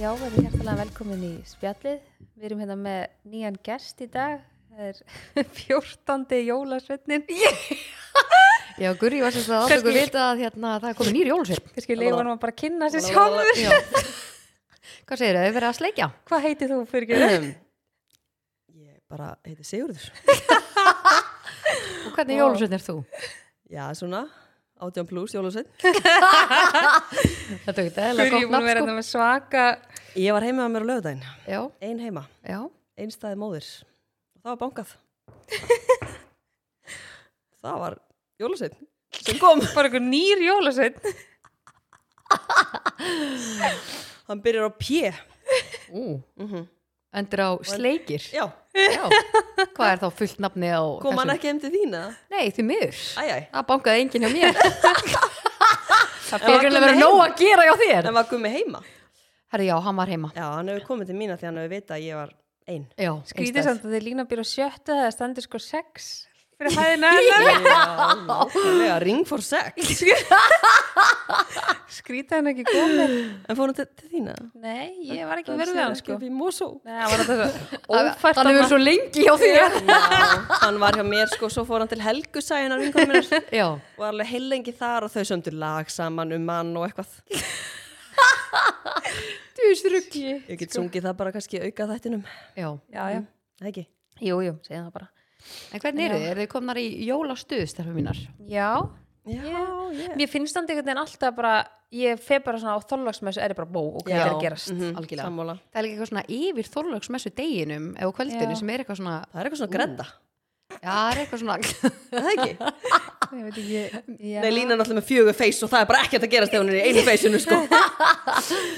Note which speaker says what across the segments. Speaker 1: Já, við erum hjertalega velkomin í spjallið. Við erum hérna með nýjan gest í dag. Það er 14. jólasveitnin.
Speaker 2: Já, Guri var sem sagt að átt okkur
Speaker 1: Kannski-
Speaker 2: vita að hérna, það er komið nýri jólusveinn.
Speaker 1: Kannski leifa hann að bara kynna sér sjálfur.
Speaker 2: Hvað segir þau? Þau verið að sleikja?
Speaker 1: Hvað heitir þú fyrir ekki?
Speaker 3: ég bara heiti Sigurður
Speaker 2: Og hvernig
Speaker 1: Vá.
Speaker 2: jólusveinn er þú?
Speaker 3: já svona 18 pluss jólasinn
Speaker 2: Þetta er ekki eðlilega
Speaker 1: Guri,
Speaker 2: gott
Speaker 1: ég búin að vera
Speaker 2: nafn,
Speaker 1: hérna með svaka.
Speaker 3: ég var heima með mér á lögudaginn
Speaker 2: sko. Já,
Speaker 3: ein heima,
Speaker 2: já.
Speaker 3: einstæði móðir og það var bankað það var jólasinn sem kom
Speaker 1: Sko, Bara einhver nýr jólasveitn.
Speaker 3: hann byrjar á P
Speaker 2: Ú,
Speaker 3: Mhm.
Speaker 2: endur á sleikir.
Speaker 3: já,
Speaker 2: Já. Hvað er þá fullt nafni á
Speaker 3: kom hann ekki heim til þín eða?
Speaker 2: Nei, því miður.
Speaker 3: æjæj,
Speaker 2: Það bankaði enginn hjá mér. Það
Speaker 3: var
Speaker 2: fyrir grunlega
Speaker 3: komið
Speaker 2: verið nóg
Speaker 3: heim.
Speaker 2: að gera hjá þér.
Speaker 3: hann var gummi heima
Speaker 2: Herri, já, hann var heima.
Speaker 3: já, hann hefur komið til mín að því hann hefur vita að ég var ein
Speaker 2: Já,
Speaker 1: Skrítið
Speaker 2: einstæð.
Speaker 1: samt að þið lína býr á sjöttu eða stendur sko sex fyrir hæðina hennar.
Speaker 3: já, ring for sex
Speaker 1: Skrítið hann ekki komið.
Speaker 3: en fór hann til, til þín eða?
Speaker 1: Nei, ég var ekki verið við hann sko.
Speaker 3: upp í Mosó
Speaker 1: Nei, það var þetta svo ófært
Speaker 2: Hann hann hefur
Speaker 1: að
Speaker 2: verið svo lengi hjá þér.
Speaker 3: Já, hann var hjá mér sko, svo fór hann til Helgu sæðinar vinkonum minnar
Speaker 2: Já.
Speaker 3: og alveg heilengi þar og þau söndur lag saman um mann og eitthvað
Speaker 2: Þú veist ruggi.
Speaker 3: Ég get
Speaker 1: Sko.
Speaker 3: sungið það bara kannski í auka þættinum
Speaker 2: Já.
Speaker 1: Já, já.
Speaker 3: Það ekki?
Speaker 1: Jú, jú, segja það bara.
Speaker 2: En hvernig eru þið? Er þið komnar í jólastuðstarfi mínar?
Speaker 1: Já,
Speaker 3: Já, yeah.
Speaker 1: Mér finnst þannig einhvern veginn alltaf bara ég fer bara svona á þorlagsmessu er ég bara bó og hvað
Speaker 3: Já.
Speaker 1: er að gerast
Speaker 3: Mhm.
Speaker 2: Algjörlega.
Speaker 3: Sammála
Speaker 2: Það er líka eitthvað svona yfir þorlöksmessu deginum eða á kvöldinu
Speaker 1: Já.
Speaker 2: sem er eitthvað svona,
Speaker 3: Það er eitthvað svona grenda
Speaker 2: já, það er eitthvað svona,
Speaker 3: Það ekki?
Speaker 1: Ég veit ekki
Speaker 3: Nei, Lína er náttúrulega með fjögur feys og það er bara ekkert að gerast ef hún er í einu feysinu sko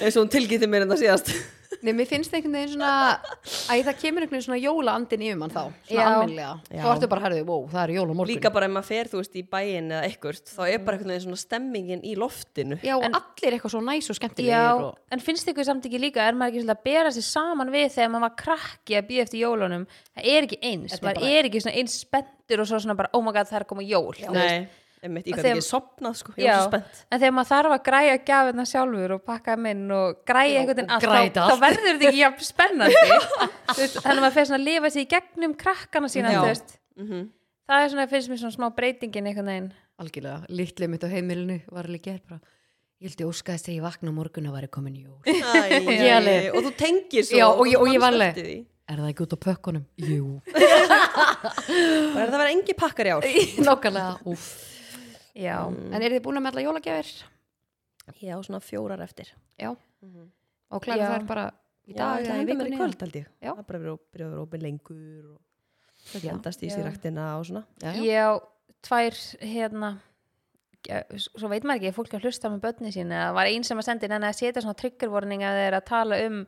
Speaker 3: eins og hún tilgýtti mér en það síðast
Speaker 2: nei, mér finnst einhvern veginn svona, að það kemur einhvern veginn svona jólaandin yfir mann þá, svona
Speaker 1: Já.
Speaker 2: almennilega.
Speaker 3: Já.
Speaker 2: Þá ertu bara, herðu, wow, það er jólamorgun.
Speaker 3: Líka bara ef maður fer, þú veist, í bæin eða ekkert þá er bara einhvern veginn svona stemmingin í loftinu
Speaker 2: Já, og allir eitthvað svo næs og
Speaker 1: Já,
Speaker 2: skemmtilegir og,
Speaker 1: en finnst ykkur samt ekki líka er maður ekki svona að bera sér saman við þegar maður var krakki að býja eftir jólunum það er ekki eins,
Speaker 2: Þetta er
Speaker 1: maður
Speaker 2: bara-
Speaker 1: er ekki svona eins spenntur og svo svona bara, oh my god, það er að koma jól þú veist.
Speaker 3: Nei, einmitt, ég
Speaker 1: Og
Speaker 3: gæti
Speaker 1: þeim-
Speaker 3: ekki sopnað sko, ég
Speaker 1: Já,
Speaker 3: var svo spennt
Speaker 1: en þegar maður þarf að græja gjafirna sjálfur og pakka þeim inn og græja einhvern veginn
Speaker 2: og
Speaker 1: allt,
Speaker 2: græja
Speaker 1: þá,
Speaker 2: allt.
Speaker 1: þá verður þetta ekki jafn spennandi Þú veist, þannig að maður fer svona að lifa sér í gegnum krakkana sína
Speaker 3: Já.
Speaker 1: þú veist.
Speaker 3: Mhm.
Speaker 1: það er svona, finnst mér svona smá breytingin einhvern veginn
Speaker 2: algjörlega, litlið mitt á heimilinu var líka hér bara, ég hildi óskaðist þegar ég vakna á morgun að væri komin jól.
Speaker 3: Æ,
Speaker 2: ég alveg-
Speaker 3: og þú tengir svo
Speaker 2: Já, og ég- og ég
Speaker 3: þú
Speaker 2: var
Speaker 3: manst
Speaker 2: alveg-
Speaker 3: eftir því.
Speaker 2: Er það ekki út á pökkunum? Jú.
Speaker 3: og er það verið engi pakkar í ár
Speaker 2: Nákvæmlega, úff.
Speaker 1: Já,
Speaker 2: En eru þið búin að mella jólagjafir?
Speaker 3: já, svona fjórar eftir
Speaker 2: Já. Og klæra
Speaker 1: Já.
Speaker 2: þær bara í
Speaker 3: í
Speaker 2: dag
Speaker 3: dag,
Speaker 2: eða í
Speaker 3: henda mér í
Speaker 2: vikunni?
Speaker 3: kvöld held ég
Speaker 2: Já.
Speaker 3: það er bara verið að byrja að vera opið lengur og
Speaker 2: Já.
Speaker 3: hendast í
Speaker 1: Já.
Speaker 3: sér rættina og svona
Speaker 2: Já, já.
Speaker 1: ég á tvær hérna ja, s- svo veit maður ekki, er fólk að hlusta með börni sín eða var einn sem að sendi en að setja svona triggervorning að þeir eru að tala um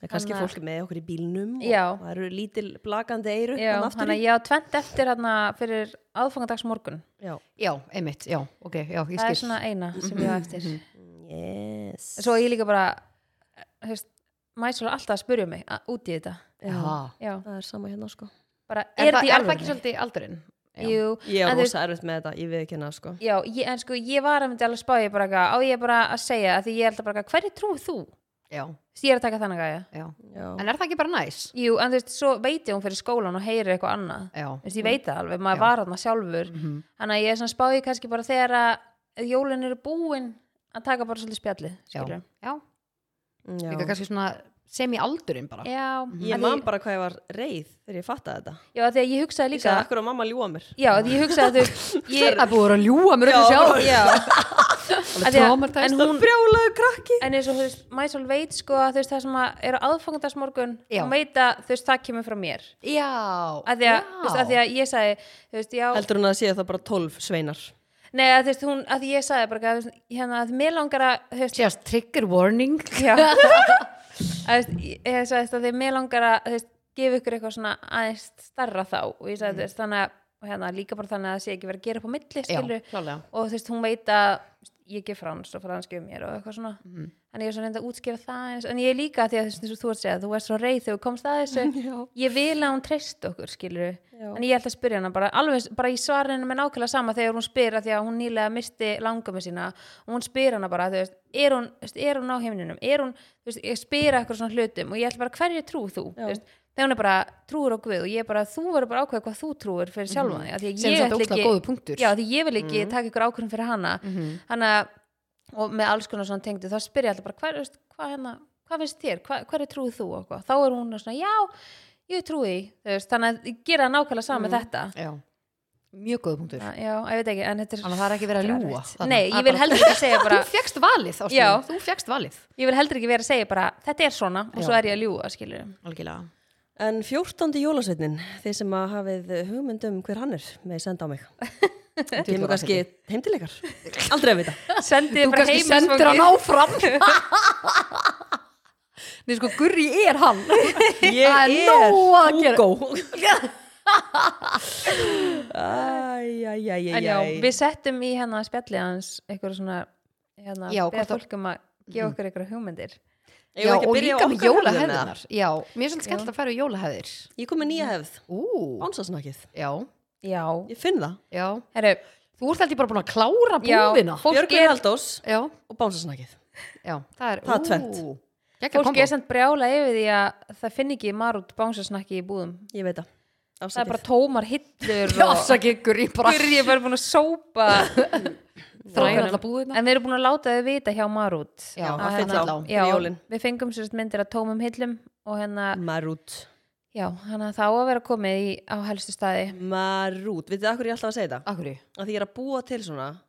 Speaker 3: það er kannski
Speaker 1: Þannig að-
Speaker 3: fólk með okkur í bílnum
Speaker 1: Já.
Speaker 3: og það eru lítil blakandi eyru
Speaker 1: já,
Speaker 3: þarna aftur
Speaker 1: þannig að
Speaker 3: í.
Speaker 1: ég á tvent eftir hérna fyrir aðfangadagsmorgun
Speaker 3: já.
Speaker 2: já, einmitt, já, ok, já, ég
Speaker 1: það er
Speaker 2: skil. Mhm.
Speaker 1: svona eina sem ég á eftir
Speaker 3: yes
Speaker 1: svo er ég líka bara hefst, mæsula alltaf að spurja mig að, út í þetta
Speaker 2: Já.
Speaker 1: já,
Speaker 3: það er sama hérna sko
Speaker 1: bara,
Speaker 2: Er,
Speaker 1: er,
Speaker 2: það,
Speaker 1: þetta í
Speaker 2: er það ekki
Speaker 1: alveg
Speaker 2: svolítið aldurinn? Já.
Speaker 1: jú,
Speaker 3: ég
Speaker 1: en
Speaker 3: er
Speaker 1: þú
Speaker 3: rosa erfitt með þetta, ég veið ekki hérna sko
Speaker 1: Já, ég, en sko ég var að myndi alveg spá ég bara eitthvað, á ég bara að segja að því ég er alltaf bara eitthvað, hverju trúið þú?
Speaker 2: Já,
Speaker 1: Þess ég er að taka þannig að
Speaker 2: já.
Speaker 3: já,
Speaker 2: En er það ekki bara næs?
Speaker 1: Jú, en þú veist, svo veit ég hún fyrir skólan og heyrir eitthvað annað.
Speaker 2: Já.
Speaker 1: Þú veist, ég veit það alveg, maður var þarna sjálfur.
Speaker 2: Mm -hmm.
Speaker 3: Mhm.
Speaker 1: Þannig að ég er svona spáði kannski bara þegar að jólin eru búin að taka bara svolítið spjallið,
Speaker 2: Já.
Speaker 1: skilur.
Speaker 2: já.
Speaker 3: já.
Speaker 2: Líka kannski svona sem í aldurinn bara.
Speaker 1: Já, já.
Speaker 3: Mhm. ég man bara hvað ég var reið þegar ég fattaði þetta
Speaker 1: Já, af því að ég hugsaði
Speaker 3: ég
Speaker 1: líka,
Speaker 3: sagði akkur á mamma ljúa mér
Speaker 1: já, af því ég hugsaði að þú, ég,
Speaker 2: Það er búin að ljúa mér öllu
Speaker 3: Já,
Speaker 2: sjálf.
Speaker 1: já, Af því að,
Speaker 2: traumatized.
Speaker 1: en
Speaker 3: það
Speaker 1: hún,
Speaker 3: brjálaðu krakki
Speaker 1: en eins og þú veist, Mæsól veit sko að þú veist það sem að eru aðfangandagsmorgun,
Speaker 2: Já.
Speaker 1: hún veit að þú veist það kemur frá mér.
Speaker 2: Já.
Speaker 1: Af því að, þú veist, af því að ég sagði, þú veist, já,
Speaker 3: heldur hún að séu það bara 12 sveinar
Speaker 1: nei, að þú veist, hún, að því ég sagði bara, að, þú veist, hérna, að mér langar að, þú veist,
Speaker 2: Sjást, trigger warning.
Speaker 1: Já Að þú veist, Ég ég sagði þetta þegar mér langar að þú veist, gefa ykkur eitthvað svona aðeins starra þá og ég sagði þetta þannig að og hérna, líka bara þannig að það sé ekki verið að gera upp á milli
Speaker 2: Já,
Speaker 1: skilur
Speaker 2: klálega.
Speaker 3: Mhm.
Speaker 1: og þú veist hún veit að þú veist, ég gef frans og franski um mér og eitthvað svona þannig ég er svo reynda að útskýra það eins, en ég er líka því að þess að þú ert að segja þú ert svo reið þegar þú komst að þessu
Speaker 3: Já.
Speaker 1: ég vil að hún treyst okkur skilur
Speaker 3: Já.
Speaker 1: en ég ætla að spyrja hana bara alveg, bara ég svara henni með nákvæmlega sama þegar hún spyr að því að hún nýlega misti langamið sína og hún spyr hana bara þú veist, er hún, þú veist, er hún á heiminum er hún, þú veist, ég spyr eitthvað svona hlutum og ég ætla bara hverju trú þú,
Speaker 3: Já.
Speaker 1: þú veist, þegar hún er bara trúur á Guð og ég er bara þú verður bara að ákveða hvað þú trúir
Speaker 3: Mhm.
Speaker 1: fyrir sjálfa þig af því að
Speaker 2: sem
Speaker 1: ég
Speaker 2: þetta
Speaker 1: ætla
Speaker 2: ósla
Speaker 1: ekki-
Speaker 2: góðu punktur
Speaker 1: Já, því ég vil ekki
Speaker 2: Mm.
Speaker 1: taka ykkur ákvörðum fyrir hana
Speaker 2: Mhm.
Speaker 1: þannig að, og með alls konar svona tengdu þá spyr ég alltaf bara, hvað, veist, hvað, hana, hvað finnst þér, hvað, hvað er trúið þú og hvað? þá er hún svona, já, ég trúi því, þú veist, þannig að ég gera nákvæmlega saman
Speaker 2: Mm.
Speaker 1: með þetta
Speaker 2: Já. mjög góðu punktur
Speaker 1: Þa- já, ég veit ekki, en þetta er
Speaker 2: Þannig að það er ekki verið að
Speaker 1: þetta
Speaker 2: ljúga
Speaker 1: erfitt.
Speaker 2: þarna.
Speaker 1: nei,
Speaker 2: Það
Speaker 1: ég
Speaker 2: er
Speaker 1: vil
Speaker 2: bara-
Speaker 1: heldur ekki segja bara
Speaker 2: þú fegst valið, Ástríður,
Speaker 1: Já.
Speaker 2: þú fegst valið
Speaker 1: ég vil heldur ekki vera að segja bara, þetta er svona og svo
Speaker 2: Já.
Speaker 1: er ég að ljúga, skilur
Speaker 2: algjörlega
Speaker 3: En 14. jólasveitnin, þið sem að hafið hugmynd um hver hann er, með senda á mig. Ég
Speaker 2: Djöfull
Speaker 3: mér
Speaker 2: var
Speaker 3: kannski heim til ykkar. Aldrei að vita.
Speaker 1: sendið
Speaker 2: þú
Speaker 1: bara
Speaker 2: kannski sendir hann
Speaker 1: heimasfangið
Speaker 2: áfram Nei sko, Gurri er hann
Speaker 3: Ég
Speaker 2: Það er
Speaker 3: er
Speaker 2: nóg að gera.
Speaker 3: Hugo. Æjæjæjæjæj.
Speaker 1: en já, við settum í hérna spjallið hans eitthvað svona, hérna,
Speaker 2: Já,
Speaker 1: beða
Speaker 2: hvort Mm. að-
Speaker 1: fólk um að gefa okkur eitthvað hugmyndir
Speaker 2: Já, og líka
Speaker 3: hérna?
Speaker 2: með
Speaker 3: jólahefðina.
Speaker 2: jólahefðinar Já, mér er svolítið skemmt að fara í jólahefðir
Speaker 3: Ég kom með nýja hefð,
Speaker 2: Ú,
Speaker 3: bánsasnakið.
Speaker 2: já,
Speaker 1: já,
Speaker 3: Ég finn það.
Speaker 2: já
Speaker 1: herru,
Speaker 2: Þú ert heldur bara búin að klára
Speaker 1: já,
Speaker 2: búðina
Speaker 1: fólk
Speaker 3: Björgvin
Speaker 1: er
Speaker 3: Haldós
Speaker 2: Já,
Speaker 3: og bánsasnakið.
Speaker 2: já, það er
Speaker 3: Það er tvennt.
Speaker 2: Gekka
Speaker 1: fólk er samt brjála yfir því að það finn ekki marút bánsasnakki í búðum
Speaker 3: Ég veit það.
Speaker 1: það er bara
Speaker 3: Afsakið.
Speaker 1: tómar hillur
Speaker 2: Já,
Speaker 1: og
Speaker 2: afsakið Gurri bara
Speaker 1: Gurrí er bara búin að sópa
Speaker 2: þræna
Speaker 1: þokunum.
Speaker 2: alla búðina
Speaker 1: en við erum búin að láta þau vita hjá marút
Speaker 2: Já,
Speaker 1: Að
Speaker 2: að
Speaker 1: hérna-
Speaker 2: fylla á
Speaker 1: já,
Speaker 3: fyrir jólin. Mm.
Speaker 1: við fengum sérst myndir að tómum hillum og hérna,
Speaker 3: Marút.
Speaker 1: já, hann að það á að vera komið í, á helstu staði
Speaker 3: Marút. Vitið það hverju ég er alltaf að segja þetta?
Speaker 2: Akkurri
Speaker 3: Að því ég er að búa til svona,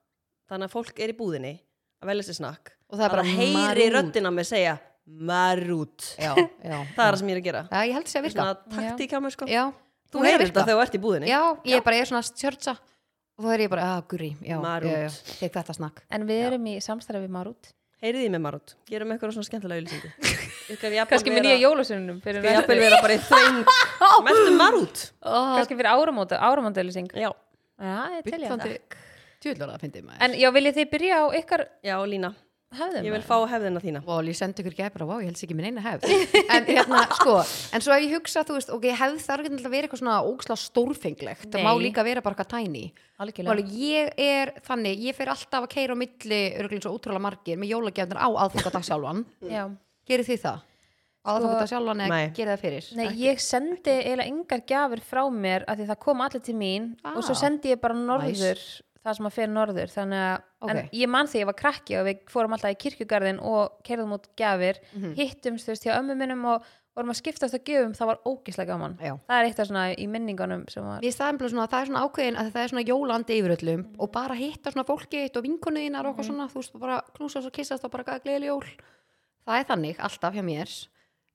Speaker 3: þannig að fólk er í búðinni að velja sér snakk.
Speaker 2: Og það er bara
Speaker 3: heyri
Speaker 2: marút.
Speaker 3: röddina með segja marút.
Speaker 2: Já, já
Speaker 3: Það er það sem ég er að gera.
Speaker 2: Já, ég held sér að virka
Speaker 3: Svona taktík á mig sko.
Speaker 2: Já,
Speaker 3: Þú
Speaker 2: hún er að
Speaker 3: heyrir
Speaker 2: virka.
Speaker 3: þetta þegar þú ert í búðinni.
Speaker 2: Já, ég er bara, ég er svona að tjörtsa og þá er ég bara, að guri, já,
Speaker 3: Marút.
Speaker 2: já, já, tek þetta snakk
Speaker 1: en við erum í samstarfi við marút
Speaker 3: Heyrið þið með marút. Gerum eitthvað svona skemmtilega ylýsingu.
Speaker 1: kannski með nýja jólasunum fyrir,
Speaker 3: Ég
Speaker 1: næstu-
Speaker 3: vil vera bara í þrein. Mestum marút.
Speaker 1: kannski fyrir áramóta, áramótaðlýsing
Speaker 3: Já.
Speaker 1: já, ég til ég það
Speaker 2: Tjúðlar að fyndi maður
Speaker 1: en já, viljið þið byrja á ykkar
Speaker 3: Já, Lína.
Speaker 1: hefðum
Speaker 3: Ég vil fá hefðina þína.
Speaker 2: Vál, ég sendi ykkur gefra, vá, ég helst ekki minn eina hefð En hérna, sko, en svo ef ég hugsa, þú veist, ok, hefð þarf ekki að vera eitthvað svona óksla stórfenglegt Það má
Speaker 1: Nei.
Speaker 2: líka vera bara eitthvað tæni
Speaker 1: algjörlega
Speaker 2: Vál, ég er þannig, ég fer alltaf að keira á milli, örgulega svo ótrúlega margir, með jólagefnir á aðfangadag sjálfan
Speaker 1: Já.
Speaker 2: Gerir þið það? Á aðfangadag sjálfan eða
Speaker 3: Nei.
Speaker 2: gerir það fyrir?
Speaker 1: Sko, Nei, ég sendi eiginlega engar gjafir frá mér af því það kom allir til mín
Speaker 2: Ah.
Speaker 1: og svo sendi ég bara norður það sem að fer norður þannig að
Speaker 2: Ok.
Speaker 1: en ég man því ég var krakki og við fórum alltaf í kirkjugarðin og kerðum út gjafir
Speaker 2: Mhm.
Speaker 1: hittumst þú veist hjá ömmu minnum og vorum að skiptast á gjöfum það var ógislega gaman
Speaker 2: Já.
Speaker 1: það er eitt af svona í minningunum sem var
Speaker 2: Mér staðum bara svona að það er svona ákveðin að það er svona jólandi yfir öllum og bara hitta svona fólki eitt og vinkonuðinar og eitthvað svona, þú veist, bara knúsast og kissast og bara gæða gleðileg jól. Það er þannig, alltaf hjá mér.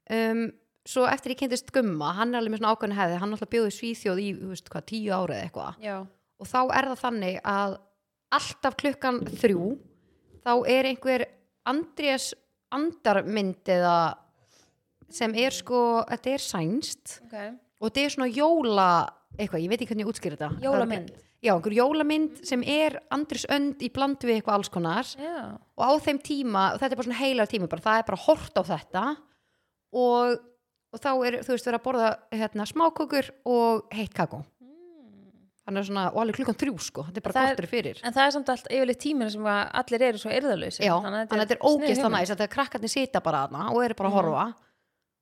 Speaker 2: Um, svo eftir ég kynntist Gumma, hann er alveg með svona ákveðin hefði, hann alltaf bjóði Svíþjóð í, þú veist, hvað, tíu ára eða eitthvað.
Speaker 1: Já,
Speaker 2: Og þá er það þannig að alltaf klukkan þrjú, þá er einhver Andrés andarmynd eða sem er sko, þetta er sænst
Speaker 1: ok
Speaker 2: og þetta er svona jóla eitthvað, ég veit ekki hvernig ég útskýr þetta
Speaker 1: Jólamynd.
Speaker 2: Það er- já, einhver jólamynd sem er Andris önd í bland við eitthvað alls konar
Speaker 1: Já,
Speaker 2: og á þeim tíma, og þetta er bara svona heilar tíma bara, það er bara hort á þetta og, og þá er, þú veist, verið að borða hérna, smákökur og heitt kakó þannig að svona, og alveg klukkan þrjú sko, þetta er bara
Speaker 1: Það er-
Speaker 2: kortur fyrir
Speaker 1: en það er samt allt yfirleitt tímina sem að allir eru svo erðalösi
Speaker 2: já, þannig að þetta er ógeðst
Speaker 1: sniðug
Speaker 2: það
Speaker 1: hugmynd. Mhm.
Speaker 2: næst þetta er krakkarnir sita bara þarna og eru bara að horfa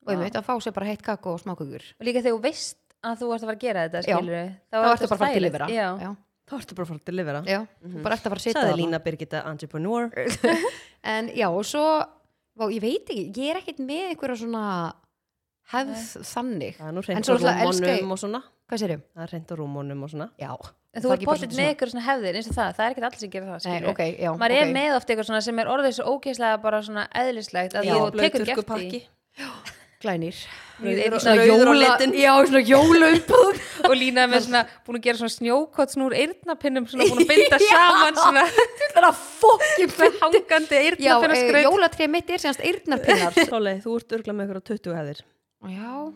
Speaker 2: og ég veit að fá sér bara heitt kakó og smákökur
Speaker 1: og líka þegar þú veist að þú ert að fara að gera þetta
Speaker 2: Já.
Speaker 1: skilur
Speaker 2: þá ertu bara að fara að delivera
Speaker 1: Já.
Speaker 2: já,
Speaker 3: Þá ertu bara að fara að delivera.
Speaker 2: já. Þú bara ertu að fara að sita
Speaker 3: Saði
Speaker 2: þarna.
Speaker 3: Lína Birgitta Entrepreneur.
Speaker 2: En já, og svo, vá, ég veit ekki, ég er ekkert með einhverja svona hefð þannig.
Speaker 3: Það er nú
Speaker 2: En
Speaker 3: reynd
Speaker 2: svo
Speaker 3: á
Speaker 2: náttúrulega elska ég-
Speaker 3: rúmónum og svona.
Speaker 2: Hvað sérum?
Speaker 3: Það er reynd á rúmónum og svona.
Speaker 2: Já.
Speaker 1: En
Speaker 2: Það
Speaker 1: þú
Speaker 2: er
Speaker 1: ert
Speaker 2: ekki bara
Speaker 1: bóttið
Speaker 2: svona-
Speaker 1: með ykkur svona hefðir eins og það, það er ekkert allir sem gerir það
Speaker 2: Nei,
Speaker 1: skilurðu.
Speaker 2: ok, já.
Speaker 1: maður
Speaker 2: ok.
Speaker 1: er með oft eitthvað svona sem er orðið svo ógeðslega bara svona eðlislegt að
Speaker 3: Já,
Speaker 1: þú
Speaker 3: blauð
Speaker 1: tekur gert í
Speaker 3: þurrkupakki.
Speaker 2: Glænir.
Speaker 3: Rauður og-
Speaker 1: Svona
Speaker 3: rauður á
Speaker 2: jóla-
Speaker 3: litinn.
Speaker 2: Já, svona jólaumbúð.
Speaker 1: og lína með svona búin að gera svona snjókotsnúr eyrnapinnum svona búin að binda saman svona
Speaker 2: Það er að fokkin
Speaker 1: með hangandi
Speaker 2: Já,
Speaker 1: eyrnapinnaskraut
Speaker 2: e, jólatrið mitt er semast eyrnarpinnar.
Speaker 3: Sólei, þú ert örgla með ykkur á 20 hefðir.
Speaker 2: já.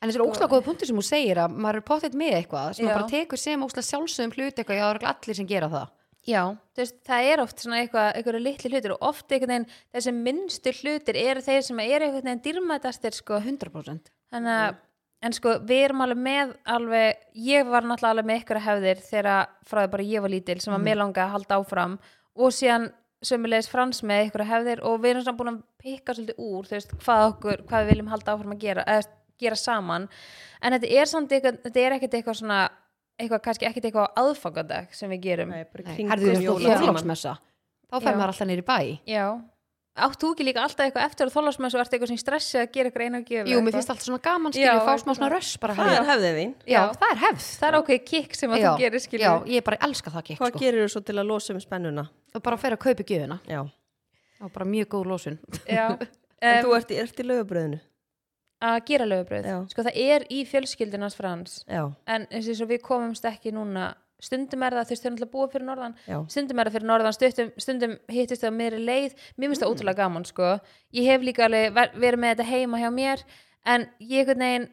Speaker 2: En þessi er óslega góða punktur sem hún segir að maður er pottitt með eitthvað sem maður
Speaker 1: Já.
Speaker 2: bara tekur sem óslega sjálfsögum hlut eitthvað, já, það eru allir sem gera það.
Speaker 1: já, þú veist, það er oft svona eitthvað, eitthvað litli hlutir og oft einhvern veginn þessi minnstu hlutir eru þeir sem eru einhvern veginn dýrmætastir sko
Speaker 2: 100%
Speaker 1: þannig
Speaker 2: Mm.
Speaker 1: að en sko við erum alveg með alveg, ég var náttúrulega alveg með ykkur hefðir þegar frá því bara ég var lítil
Speaker 2: Mhm.
Speaker 1: sem að mér langaði að halda áfram og síðan sömulegis frans með ykkur hefðir og við erum samt búin að pikka svolítið úr þú veist, hvað okkur, hvað við viljum halda áfram að gera eða gera saman en þetta er samt eitthvað, þetta er ekkert eitthvað svona eitthvað, kannski ekkert eitthvað á aðfangadag sem við gerum
Speaker 3: Nei, bara
Speaker 2: Nei,
Speaker 3: kringum
Speaker 2: Herðu, þú
Speaker 3: jólatímann.
Speaker 2: veist, þorláksmessa Þá
Speaker 1: Já.
Speaker 2: fer maður alltaf niður í bæ
Speaker 1: já, átt þú ekki líka alltaf eitthvað eftir að þólasmess og ert eitthvað sem stressið að gera eitthvað einu og gefa
Speaker 2: Jú, mér finnst alltaf svona gaman skilur,
Speaker 1: Já,
Speaker 2: fá smá
Speaker 1: eitthvað
Speaker 2: svona röss bara
Speaker 3: Það
Speaker 2: herðu.
Speaker 3: er hefðið þín.
Speaker 2: Já,
Speaker 1: Já.
Speaker 2: það er hefð
Speaker 1: það er ákveðið kikk sem að
Speaker 2: já,
Speaker 1: þú gerir skilur
Speaker 2: já, ég bara elska það gekk
Speaker 3: Hvað
Speaker 2: sko.
Speaker 3: gerir þú svo til að losa um spennuna?
Speaker 2: og bara fer að kaupa gjöfuna
Speaker 3: Já.
Speaker 2: og bara mjög góð lósun
Speaker 1: Já,
Speaker 3: En
Speaker 1: em,
Speaker 3: þú ert í, ert í lögabröðinu.
Speaker 1: að gera lögabröð
Speaker 3: Já.
Speaker 1: sko það er í fjölskyldunars frans
Speaker 3: Já,
Speaker 1: en eins og svo við komumst ekki núna stundum er það, þú veist þau náttúrulega búa fyrir norðan
Speaker 3: já.
Speaker 1: stundum er það fyrir norðan, stundum, stundum hittist það á meiri leið, mér
Speaker 3: Mm.
Speaker 1: finnst það ótrúlega gaman sko, ég hef líka alveg ver- verið með þetta heima hjá mér, en ég einhvern veginn,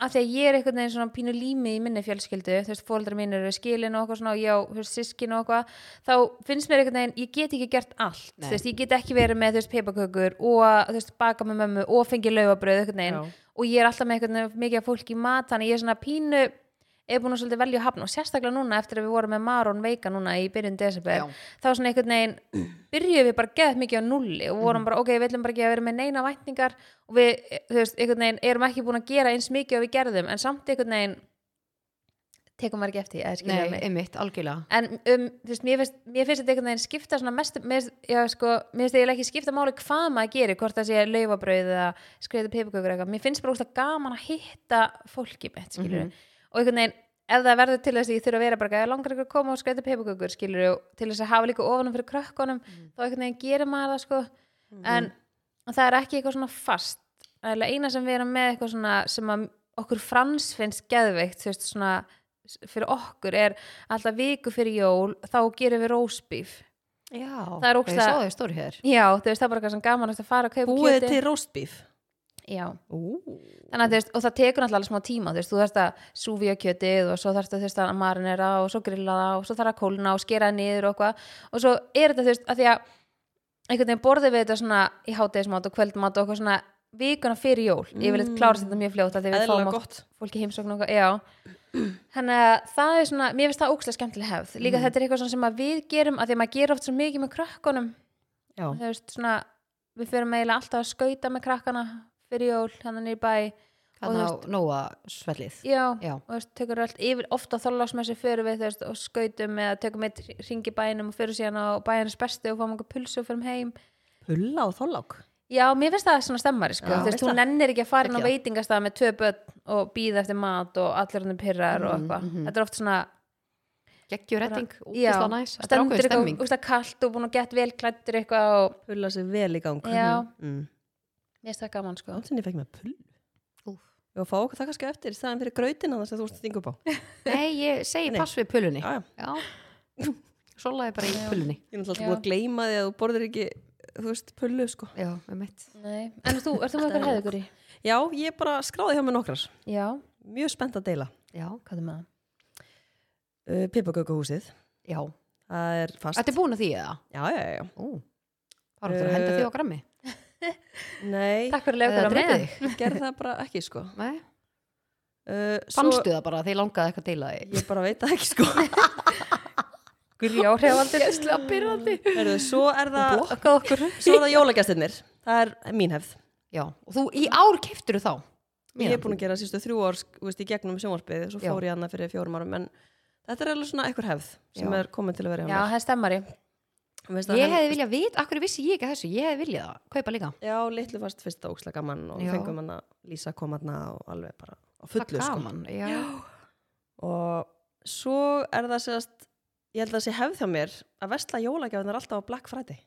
Speaker 1: af því að ég er einhvern veginn svona pínu lími í minni fjölskyldu þú veist, fóreldrar mínir eru skilin og eitthvað svona og ég á sískin og eitthvað, þá finnst mér einhvern veginn, ég get ekki gert allt
Speaker 2: Nei.
Speaker 1: þú veist, ég get ekki verið með þú veist, peipakökur og þú veist, baka með mömmu og fengi laufabröð einhvern veginn,
Speaker 3: Já.
Speaker 1: og ég er alltaf með einhvern veginn mikið af fólki í mat, þannig ég er svona pínu er búin að svolítið velja að hafna og sérstaklega núna eftir að við vorum með Maron veika núna í byrjun desember
Speaker 2: Já.
Speaker 1: þá svona einhvern veginn byrjuðum við bara geðað mikið á nulli og
Speaker 2: Mm.
Speaker 1: vorum bara ok, við ætlum bara ekki að vera með neina vætningar og við, eh, þú veist, einhvern veginn erum ekki búin að gera eins mikið og við gerðum en samt einhvern veginn tekum maður ekki eftir, eða skilja
Speaker 2: Nei,
Speaker 1: mig
Speaker 2: einmitt, algjörlega
Speaker 1: en um, þú veist, mér finnst, mér finnst þetta einhvern veginn skipta svona mest, mér, finnst- já sko mér finnst eiginlega ekki skipta máli hvað maður gerir hvort það sé laufabrauð eða skreita pipakökur eitthvað, mér finnst bara úrst gaman að hitta fólki mitt, skilur og einhvern veginn, ef það verður til þess að ég þurfa að vera bara, ég langar ykkur að koma og skreita pipakökur skilur og til þess að hafa líka ofanum fyrir krökkunum þá einhvern veginn gerir maður það sko en það er ekki eitthvað svona fast Það er eiginlega eina sem við erum með eitthvað svona sem að okkur frans finnst geðveikt, þú veist, svona fyrir okkur er alltaf viku fyrir jól þá gerum við rósbíf
Speaker 2: Já,
Speaker 1: Það er
Speaker 2: ég
Speaker 1: ógeðslega-
Speaker 2: sá þau stóri hér
Speaker 1: já, þú veist, það er bara eitthvað sem gaman þú veist, að fara að kaupa
Speaker 3: Búið
Speaker 1: kjöti.
Speaker 3: til roastbeef.
Speaker 1: já,
Speaker 3: Ú.
Speaker 1: þannig að þú veist, og það tekur náttúrulega alveg smá tíma, þú veist, þú þarft að súfja kjötið og svo þarft að þú veist að marinera og svo grilla það og svo þarf að kólna og skera það niður og eitthvað, og svo er þetta þú veist, að því að einhvern veginn borðum við þetta svona í hátegismat og kvöldmat og eitthvað svona vikuna fyrir jól, ég vil eitthvað klára þetta mjög fljótt af því við fáum
Speaker 3: Eðlilega
Speaker 1: oft
Speaker 3: gott.
Speaker 1: fólki heimsókn og já þannig að það er svona, mér finnst það ókslega skemmtileg hefð líka þetta er eitthvað svona sem að við gerum að því að maður gerir oft svo mikið með krökkunum
Speaker 3: Já.
Speaker 1: þú veist svona, við fyrir eiginlega alltaf að skauta með krakkana fyrir jól hann er í bæ, Og þú
Speaker 2: Þannig á Nóa svellið
Speaker 1: já,
Speaker 2: Já.
Speaker 1: og þú veist, tökur allt yfir, ofta þorlásmessu fyrir við þú veist, og skautum eða tökum eitt ringi bænum og fyrir síðan á bæjarnas bestu og fáum einhver pulsu og fyrir heim
Speaker 3: Hulla og þollák.
Speaker 1: Já, mér finnst það svona stemmari sko.
Speaker 2: Já,
Speaker 1: þú veist,
Speaker 3: veist
Speaker 1: hún
Speaker 3: það.
Speaker 1: nennir ekki að fara inn á
Speaker 2: Ekki það.
Speaker 1: veitingastað með tvö börn og býða eftir mat og allir hann pyrrar og eitthvað Þetta er oft svona
Speaker 2: Geggjur retting,
Speaker 1: já,
Speaker 2: útislega næs Þetta er
Speaker 1: stendur
Speaker 2: ákveðin
Speaker 1: eitthvað
Speaker 2: stemming
Speaker 1: úrst kallt og búin að gett vel klættur eitthvað og
Speaker 3: Hulla sér vel í gang.
Speaker 1: Já.
Speaker 3: Mm.
Speaker 1: mér finnst það gaman sko.
Speaker 3: Áttinni fekk mér pull.
Speaker 2: Úff.
Speaker 3: Ég var að fá okkur það kannski eftir, það er fyrir grautina það sem þú ert að stinga upp á.
Speaker 2: Nei, ég segi
Speaker 3: Nei.
Speaker 2: pass við pölunni
Speaker 3: Já, já.
Speaker 2: Já, svolega bara í pölunni
Speaker 3: Ég er náttúrulega
Speaker 1: Já.
Speaker 3: alltaf búin að gleyma því að þú borðir ekki, þú veist, pullu, sko.
Speaker 2: Já, einmitt
Speaker 1: Nei. En þú, ert þú með eitthvað hefðugur í?
Speaker 3: Já, ég bara skráði hjá mér nokkrar.
Speaker 1: Já,
Speaker 3: Mjög spennt að deila.
Speaker 2: Já,
Speaker 1: hvað er með það?
Speaker 3: Uh, Pipagökuhúsið,
Speaker 2: já
Speaker 3: það er fast.
Speaker 2: Þetta er búin að því eða?
Speaker 3: Já, já, já, já.
Speaker 2: Ú, það er að henda
Speaker 3: Eh,
Speaker 2: því á grammi
Speaker 3: Nei,
Speaker 1: Takk fyrir að leiða
Speaker 2: Eða
Speaker 1: okkur að
Speaker 2: drepið
Speaker 1: með
Speaker 2: þig?
Speaker 3: gerði það bara ekki, sko.
Speaker 2: Nei,
Speaker 3: Uh,
Speaker 2: fannstu það bara að þið langaði eitthvað að deila því
Speaker 3: Ég bara veit það ekki, sko.
Speaker 1: Gurjá hreifaldur
Speaker 2: Gæstlega byrjandi
Speaker 3: Herðu, svo er það,
Speaker 1: Blokkað okkur
Speaker 3: svo er það jólagestirnir. Það er mín hefð.
Speaker 2: Já, og þú í ár keftur þá
Speaker 3: Ég er búin að gera sístu þrjú ár, sk- þú veist, í gegnum sjónvarpið, svo
Speaker 2: Já.
Speaker 3: fór ég annað fyrir fjórum árum, en þetta er alveg svona einhver hefð sem
Speaker 2: Já.
Speaker 3: er komin til að vera hjá
Speaker 1: Já,
Speaker 3: mér.
Speaker 1: það er stemmari
Speaker 3: Veist að
Speaker 2: Ég
Speaker 3: hann-
Speaker 2: hefði viljað vita, akkur vissi ég ekki að þessu, ég hefði viljað að kaupa líka.
Speaker 3: Já, litlu fast fyrst ókslega gaman og
Speaker 2: Já.
Speaker 3: fengum hann að lýsa komarna og alveg bara á
Speaker 2: Það
Speaker 3: fullu sko.
Speaker 2: gaman, já.
Speaker 3: Og svo er það sérst, ég held að það sé hefð hjá mér að vestla jólagjafinar alltaf á Black Friday.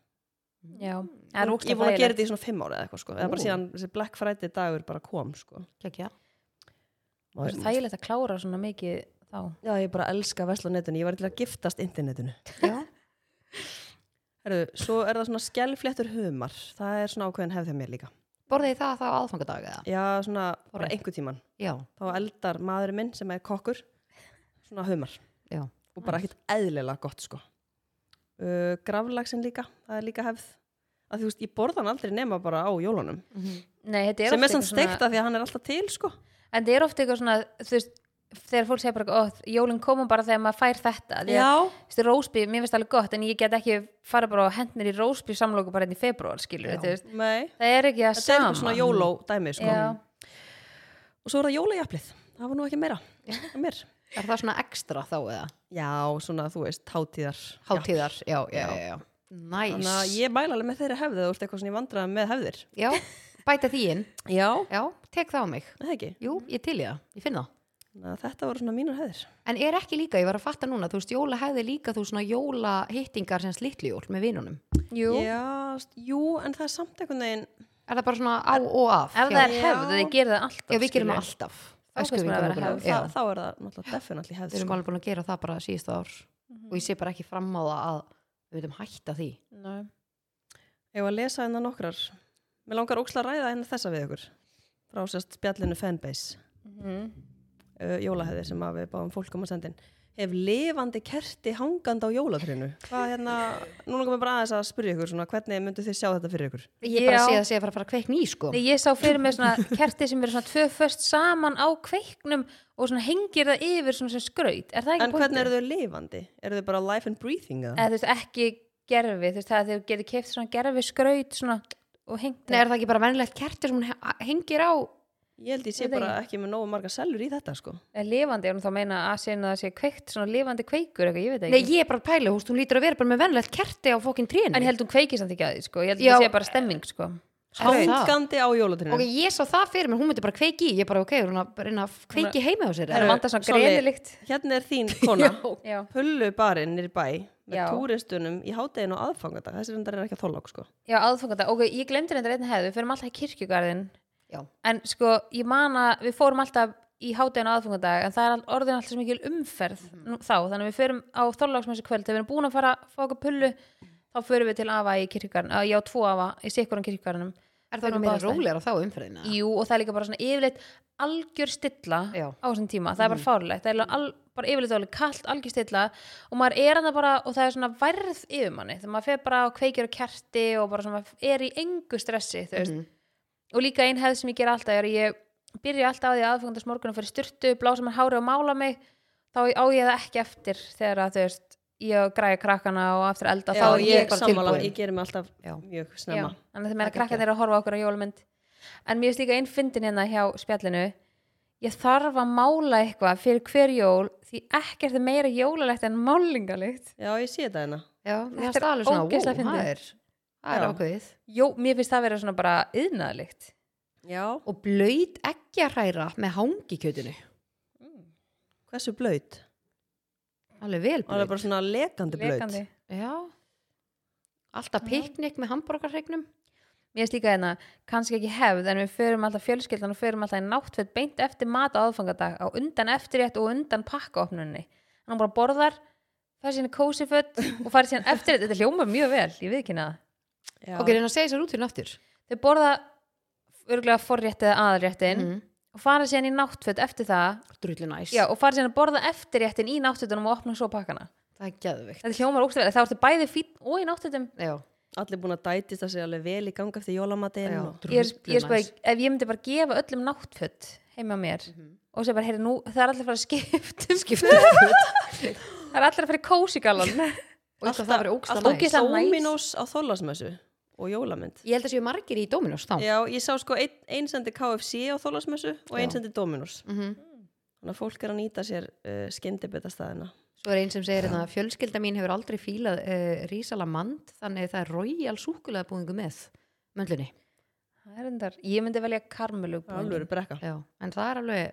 Speaker 2: Mm.
Speaker 1: Já, það er
Speaker 3: ég
Speaker 1: ókslega
Speaker 3: voru að gera
Speaker 1: þægilegt
Speaker 3: þetta í svona fimm ára eða eitthvað sko. Eða
Speaker 2: Ú.
Speaker 3: bara síðan þessi Black Friday dagur bara kom sko.
Speaker 2: Kekja.
Speaker 1: Það er svo þægilegt að klára svona mikið þá
Speaker 3: Já, ég bara elska að vestla á netinu. Ég var til að giftast internetinu.
Speaker 2: Já.
Speaker 3: Herðu, svo er það svona skelfléttur humar. Það er svona ákveðin hefð hjá mér líka.
Speaker 2: Borðið þið það þá aðfangadag eða?
Speaker 3: Já, svona bara
Speaker 2: Forrétt.
Speaker 3: einhver tíman.
Speaker 2: Já,
Speaker 3: Þá eldar maðurinn minn sem er kokkur svona humar
Speaker 2: já.
Speaker 3: og bara ekkert eðlilega gott sko. uh, graflagsinn líka, það er líka hefð að þú veist, ég borða hann aldrei nema bara á jólunum
Speaker 1: Nei, þetta er oft
Speaker 3: sem er samt
Speaker 1: eitthvað svona-
Speaker 3: steikt af því að hann er alltaf til sko
Speaker 1: En þetta er ofta eitthvað svona, þú veist, þegar fólk segir bara, ó, jólinn koma bara þegar maður fær þetta. Því að, þú veist, rósbý, mér finnst alveg gott, en ég get ekki fara bara og hend mér í rósbý samlóku bara enn í februar, skilur, þú veist.
Speaker 3: Nei,
Speaker 1: Það er ekki það
Speaker 3: þetta er
Speaker 1: sama.
Speaker 3: eitthvað svona jóló dæmi sko
Speaker 1: Já,
Speaker 3: og svo er það jólajaplið, það var nú ekki meira hjá mér.
Speaker 2: Er það svona ekstra þá eða?
Speaker 3: já, svona þú veist, hátíðar
Speaker 2: Hátíðar, já, já, já, já. Næs.
Speaker 3: þannig að ég mæla alveg með þeirra hefði þú ert eitthvað svona í vandræðum með hefðir
Speaker 2: Já, bæta því inn.
Speaker 3: já,
Speaker 2: Já, tek það á mig.
Speaker 3: það ekki,
Speaker 2: Jú, ég til í það, ég finn það.
Speaker 3: þannig að þetta voru svona mínur hefðir
Speaker 2: En er ekki líka, ég var að fatta núna, þú veist, jóla hefði líka þú veist, svona jóla hittingar sem slitljól með vinunum.
Speaker 1: jú.
Speaker 3: já, st- jú, en það er samt einhvern veginn
Speaker 2: Er það bara svona á og af?
Speaker 1: Ef það er
Speaker 3: Já.
Speaker 1: hefð, þið gerir það alltaf,
Speaker 2: Já, við gerum
Speaker 1: skilurðu.
Speaker 2: það alltaf.
Speaker 1: Þá finnst mér að vera
Speaker 2: Öskuvinkonur
Speaker 1: hefð.
Speaker 2: og- já.
Speaker 3: það, þá er það náttúrulega definitely hefð
Speaker 2: Við erum
Speaker 3: sko.
Speaker 2: alveg búin að gera það bara síðustu ár
Speaker 1: Mhm.
Speaker 2: og ég sé bara ekki fram á það að við veitum hætta því.
Speaker 1: Nei.
Speaker 3: ég var að lesa hennar nokkrar mér langar óksla að ræða hennar þessa við ykkur frá sérst spjallinu fanbase
Speaker 1: Mhm.
Speaker 3: uh, jólahefðir sem að við báðum fólk um að senda inn hef lifandi kerti hangandi á jólatrinu hvað hérna, núna komum við bara aðeins að spyrja ykkur svona, hvernig myndu þið sjá þetta fyrir ykkur
Speaker 2: Ég bara
Speaker 1: Já.
Speaker 2: sé það sé að fara að fara að kveikni í sko.
Speaker 1: Nei, ég sá fyrir mig svona kerti sem eru svona tvö föst saman á kveiknum og svona hengir það yfir svona sem skraut. Er það ekki
Speaker 3: en hvernig eru þau lifandi? eru þau bara life and breathing? eða?
Speaker 1: eða þú veist ekki gerfi þú veist það að þau getur keft svona gerfi skraut svona og hengt
Speaker 2: Nei, er það ekki bara venilegt kerti sem hún he- hengir á?
Speaker 3: ég held ég sé
Speaker 1: Ég veit
Speaker 3: bara ekki með nógu marga sellur í þetta sko.
Speaker 1: er lifandi, ef hún þá meina að sinna það sé kveikt svona lifandi kveikur eitthvað, ég veit
Speaker 2: Nei,
Speaker 1: ekki
Speaker 2: ég er bara að pæla, húst, hún lítur að vera bara með venilegt kerti á fokkin trénu.
Speaker 1: en ég held hún kveiki samt ekki að því sko, ég held
Speaker 2: Já.
Speaker 1: það sé bara stemming sko
Speaker 2: Er það?
Speaker 3: hangandi á jólatrinu
Speaker 2: Ok, ég sá það fyrir mér, hún myndi bara kveiki í, ég bara, ok, er hún að bara reyna að kveiki heima á sér.
Speaker 1: það er
Speaker 2: eða?
Speaker 1: vanda svona
Speaker 3: Solli.
Speaker 1: greinilikt
Speaker 3: Eh, hérna er þín kona
Speaker 1: já,
Speaker 3: pullubarinn nýr bæ með
Speaker 1: Já.
Speaker 3: túristunum í hádeginu og aðfangadag þessi reyndar er ekki að þóla sko.
Speaker 1: já aðfangata, ok, ég glemdi reyndar einn hefð við förum alltaf í kirkjugarðin
Speaker 2: Já.
Speaker 1: en sko, ég man að við fórum alltaf í hádeginu aðfangadag, en það er all- orðin alltaf svo mikil umferð
Speaker 2: Mhm.
Speaker 1: nú, þá, þannig að við förum á þorláksmessu kvöld, þegar við erum búin að fara að fá okkur pullu, þá förum við til afa í kirkjugarðin, já, tvo afa í sikkurum kirkjugarðinum
Speaker 2: Er það ekki
Speaker 1: Förum á
Speaker 2: meira
Speaker 1: báðastæði.
Speaker 2: rólegra þá umferðina?
Speaker 1: Jú, og það er líka bara svona yfirleitt algjör stilla
Speaker 2: Já. Mhm.
Speaker 1: á þessum tíma, það er bara fárlegt það er alveg al, bara yfirleitt alveg kallt, algjör stilla og maður er hann bara, og það er svona værð yfir manni, þegar maður fer bara og kveikir og kerti og bara svona er í engu stressi
Speaker 2: Mhm.
Speaker 1: þú veist, og líka ein hefð sem ég ger alltaf er að ég byrja alltaf á því aðfengandas morgunum fyrir styrtu, blása mér hári og mála mig þá á ég það ekki eftir þegar að þú veist, ég græja krakkana og aftur elda,
Speaker 3: já,
Speaker 1: þá er
Speaker 3: ég,
Speaker 1: ég
Speaker 3: er
Speaker 2: bara
Speaker 3: sammála,
Speaker 2: tilbúin.
Speaker 3: ég gerir mig alltaf
Speaker 2: Já.
Speaker 3: mjög
Speaker 1: Já,
Speaker 3: snemma
Speaker 1: þannig að þeir meira
Speaker 2: Það er
Speaker 1: krakkan
Speaker 2: geggjað.
Speaker 1: þeirra að horfa á okkur á jólumynd en mér finnst líka einn fyndin hérna hjá spjallinu ég þarf að mála eitthvað fyrir hver jól því ekkert er meira jólalegt en málingalegt
Speaker 3: já, ég sé þetta hérna
Speaker 2: Já, mér
Speaker 1: Þetta
Speaker 2: finnst
Speaker 1: er
Speaker 2: það alveg svona,
Speaker 1: ógeðslega
Speaker 2: wow, það
Speaker 1: fyndið.
Speaker 2: er, það er
Speaker 3: Já.
Speaker 2: ákveðið.
Speaker 1: Jó, mér finnst það vera svona bara yðnaðalegt
Speaker 3: já,
Speaker 2: Og blöyt ekki að hræra með hangikjötinu.
Speaker 3: hversu blöyt?
Speaker 2: Alveg vel
Speaker 3: Það er
Speaker 2: blöyt.
Speaker 3: bara svona lekandi blöyt.
Speaker 1: lekandi
Speaker 2: Já. Alltaf piknik með hambúrgarregnum.
Speaker 1: Mér finnst líka hérna, kannski ekki hefð en við förum alltaf fjölskyldan og förum alltaf í náttfett beint eftir mat á aðfangadag á undan eftirrétt og undan pakkaopnunni hann bara borðar, fær sína kósiföt og fær sína eftirrétt, þetta hljóma mjög vel ég við það
Speaker 3: Já.
Speaker 2: Ok, reyna að segja sér út fyrir aftur.
Speaker 1: þau borða örgulega forréttið eða aðréttin
Speaker 2: Mhm.
Speaker 1: og fara síðan í náttföt eftir það
Speaker 2: Drullu næs.
Speaker 1: Mhm. já, og fara síðan að borða eftirréttin í náttfötunum og opna svo pakkana
Speaker 2: Það er geðvikt.
Speaker 1: þetta hljómar ógstafæli, þá ertu bæði fín og í náttfötum
Speaker 2: Já.
Speaker 3: Allir búin að dætist að segja alveg vel í ganga eftir jólamatinn.
Speaker 2: Já.
Speaker 3: og-
Speaker 1: ég er, ég er sko,
Speaker 2: Drullunæs.
Speaker 1: ef ég myndi bara gefa öllum náttföt heima á mér
Speaker 2: Mhm.
Speaker 1: og segja bara, heyri nú, það er allir að fara að skipta skipta það er allir að fara í kósigalan
Speaker 2: Og eitthvað það verið ógsta
Speaker 1: alltaf
Speaker 2: næs.
Speaker 1: ógeðslega næs.
Speaker 3: Dominos á Þólasmessu og jólamynd.
Speaker 2: Ég held að séu margir í Dominos þá.
Speaker 3: Já, ég sá sko ein, ein sendi KFC á Þólasmessu og ein
Speaker 2: Já.
Speaker 3: sendi Dominos.
Speaker 2: Mhm.
Speaker 3: Þannig að fólk er að nýta sér uh, skyndibitastæðina.
Speaker 2: Svo er einn sem segir að fjölskylda mín hefur aldrei fílað uh, rísalamand þannig það er royal súkulega búingu með möndlunni.
Speaker 1: Það er endar, ég myndi velja karmelu
Speaker 3: Alvöru brekka.
Speaker 2: Já. En það er alveg...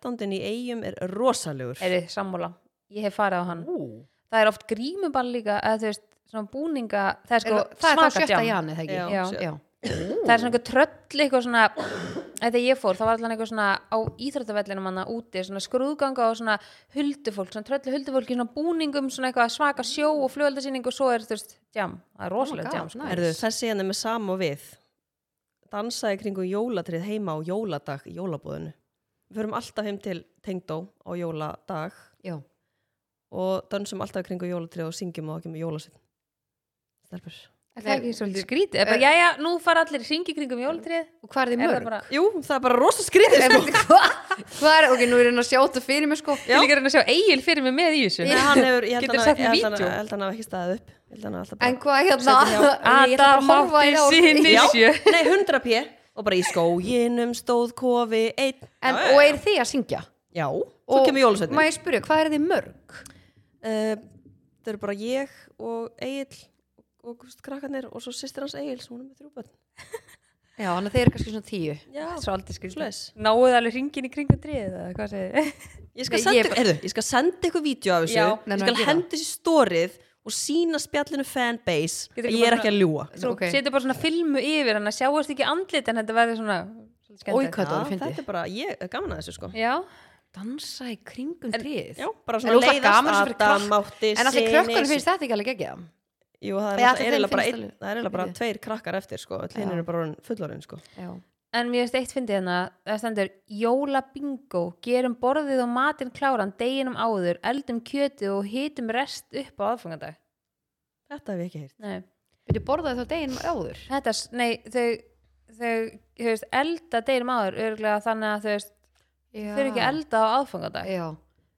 Speaker 3: 13. í eigum er rosalegur.
Speaker 1: er sammála, ég hef farið á hann
Speaker 2: Ú.
Speaker 1: það er oft grímuball líka eða þú veist, svona búninga það er
Speaker 2: Er,
Speaker 1: sko
Speaker 2: það er þá
Speaker 1: svaka
Speaker 2: sjötta
Speaker 1: djamm.
Speaker 2: jan eða ekki?
Speaker 3: Já,
Speaker 1: Já.
Speaker 3: sjö-
Speaker 2: Já.
Speaker 1: það er svona eitthvað tröll eitthvað svona þegar ég fór, það var allan eitthvað svona á íþróttavellinum manna úti, svona skrúðganga og svona huldufólk, svona tröll huldufólk í svona búningum, svona eitthvað svaka sjó og fljóðaldasýning og svo er þú veist, jam það er
Speaker 2: my
Speaker 1: rosalega
Speaker 2: God,
Speaker 1: jam sko.
Speaker 2: nice.
Speaker 3: Erðu, þessi hérna er með sama og við. Dansaði kringum jólatrið heima á jóladag í jólabúðinu. Við förum alltaf heim til tengdó á jóladag
Speaker 2: Já.
Speaker 3: og dansum alltaf í kringu jólatrið og syngjum og ekki með jólasinn Stelpur
Speaker 1: Er það ekki svolítið skrítið? Er bara,
Speaker 3: Eh,
Speaker 1: jæja, nú fara allir hringi kringum jólatrið.
Speaker 2: og hvað er þið
Speaker 1: Er það
Speaker 2: mörg?
Speaker 1: bara,
Speaker 3: Jú, það er bara rosa skrítið sko.
Speaker 2: hvað er, ok, nú er hérna að sjá þetta fyrir mig sko
Speaker 1: ég er líka að reyna að sjá Egil fyrir mig með í þessu.
Speaker 3: Nei, hann hefur, ég held
Speaker 1: Getur
Speaker 3: hann
Speaker 1: sagt
Speaker 3: hafi- ég
Speaker 1: mér
Speaker 3: held hann-
Speaker 1: vídeó?
Speaker 3: ég held hann hafi ekki staðið upp Ég held hann hafi alltaf
Speaker 2: en
Speaker 3: bara
Speaker 2: hvað hérna
Speaker 3: Setjum hjá
Speaker 2: ég ætla bara að horfa í ár.
Speaker 1: sinni
Speaker 3: Já.
Speaker 1: sjö.
Speaker 3: Nei, 100 p og bara í skóginum stóð kofi einn
Speaker 2: en,
Speaker 3: Já,
Speaker 2: og
Speaker 3: já,
Speaker 2: er þið að syngja?
Speaker 3: já. Já, svo kemur jólasveitin
Speaker 2: má ég spyrja, hvað er þið mörg?
Speaker 3: uh, það eru bara ég og Egil og þú veist, krakkarnir og svo sýstir hans Egil sem hún er með þrjú börn
Speaker 2: já, þannig að þið eru kannski svona tíu
Speaker 3: já,
Speaker 1: Svolítið skrítið.
Speaker 3: svoleiðis.
Speaker 1: Náuð alveg hringin í kringum tríðið eða hvað segir?
Speaker 3: ég skal
Speaker 2: Nei,
Speaker 3: senda
Speaker 2: ég
Speaker 3: ykkur, heyrðu, ég skal senda ykkur vídeo af þessu,
Speaker 1: Já,
Speaker 2: nei, nú,
Speaker 3: ég skal
Speaker 2: ekki það.
Speaker 3: hendi þessu í stórið og sína spjallinu fanbase
Speaker 1: Getur
Speaker 3: að
Speaker 1: ekki
Speaker 3: ég er
Speaker 1: bara
Speaker 3: ekki að ljúa
Speaker 1: Svo
Speaker 2: Ok.
Speaker 1: setur bara svona filmu yfir hann að sjáast ekki andlit en þetta verður svona svolítið
Speaker 2: Oj,
Speaker 1: skemmtilegt.
Speaker 2: hvað það var
Speaker 3: þetta
Speaker 2: fyndið
Speaker 3: er bara, ég er gaman að þessu sko
Speaker 1: Já,
Speaker 2: dansa í kringum tríð
Speaker 3: já, bara
Speaker 2: En
Speaker 3: svona
Speaker 2: rosa gaman þessu fyrir
Speaker 3: leiðast Adam
Speaker 2: krakk-
Speaker 3: mátti
Speaker 2: en allir krökkunum finnst þetta ekki alveg ekki það
Speaker 3: Jú, það er
Speaker 2: Eða
Speaker 3: náttúrulega-
Speaker 2: ætli
Speaker 3: er
Speaker 2: þeim
Speaker 3: eiginlega bara,
Speaker 2: finnst
Speaker 3: einn,
Speaker 2: alveg-
Speaker 3: það er eiginlega bara
Speaker 2: Fyndið.
Speaker 3: tveir krakkar eftir sko, öll hinn
Speaker 2: Já.
Speaker 3: eru bara orðin fullorðin sko
Speaker 2: já.
Speaker 1: en mér finnst eitt fyndið hérna það stendur jólabingo gerum borðið og matinn kláran deginum áður, eldum kjötið og hitum rest upp á aðfangandag
Speaker 3: Þetta hef ég ekki heyrt
Speaker 1: Nei,
Speaker 2: Við borðaði þá deginum áður
Speaker 1: þetta, s- nei, þau þau, þú veist, elda deginum áður örgulega þannig að þau veist þau eru ekki að elda á aðfangandag
Speaker 2: Já,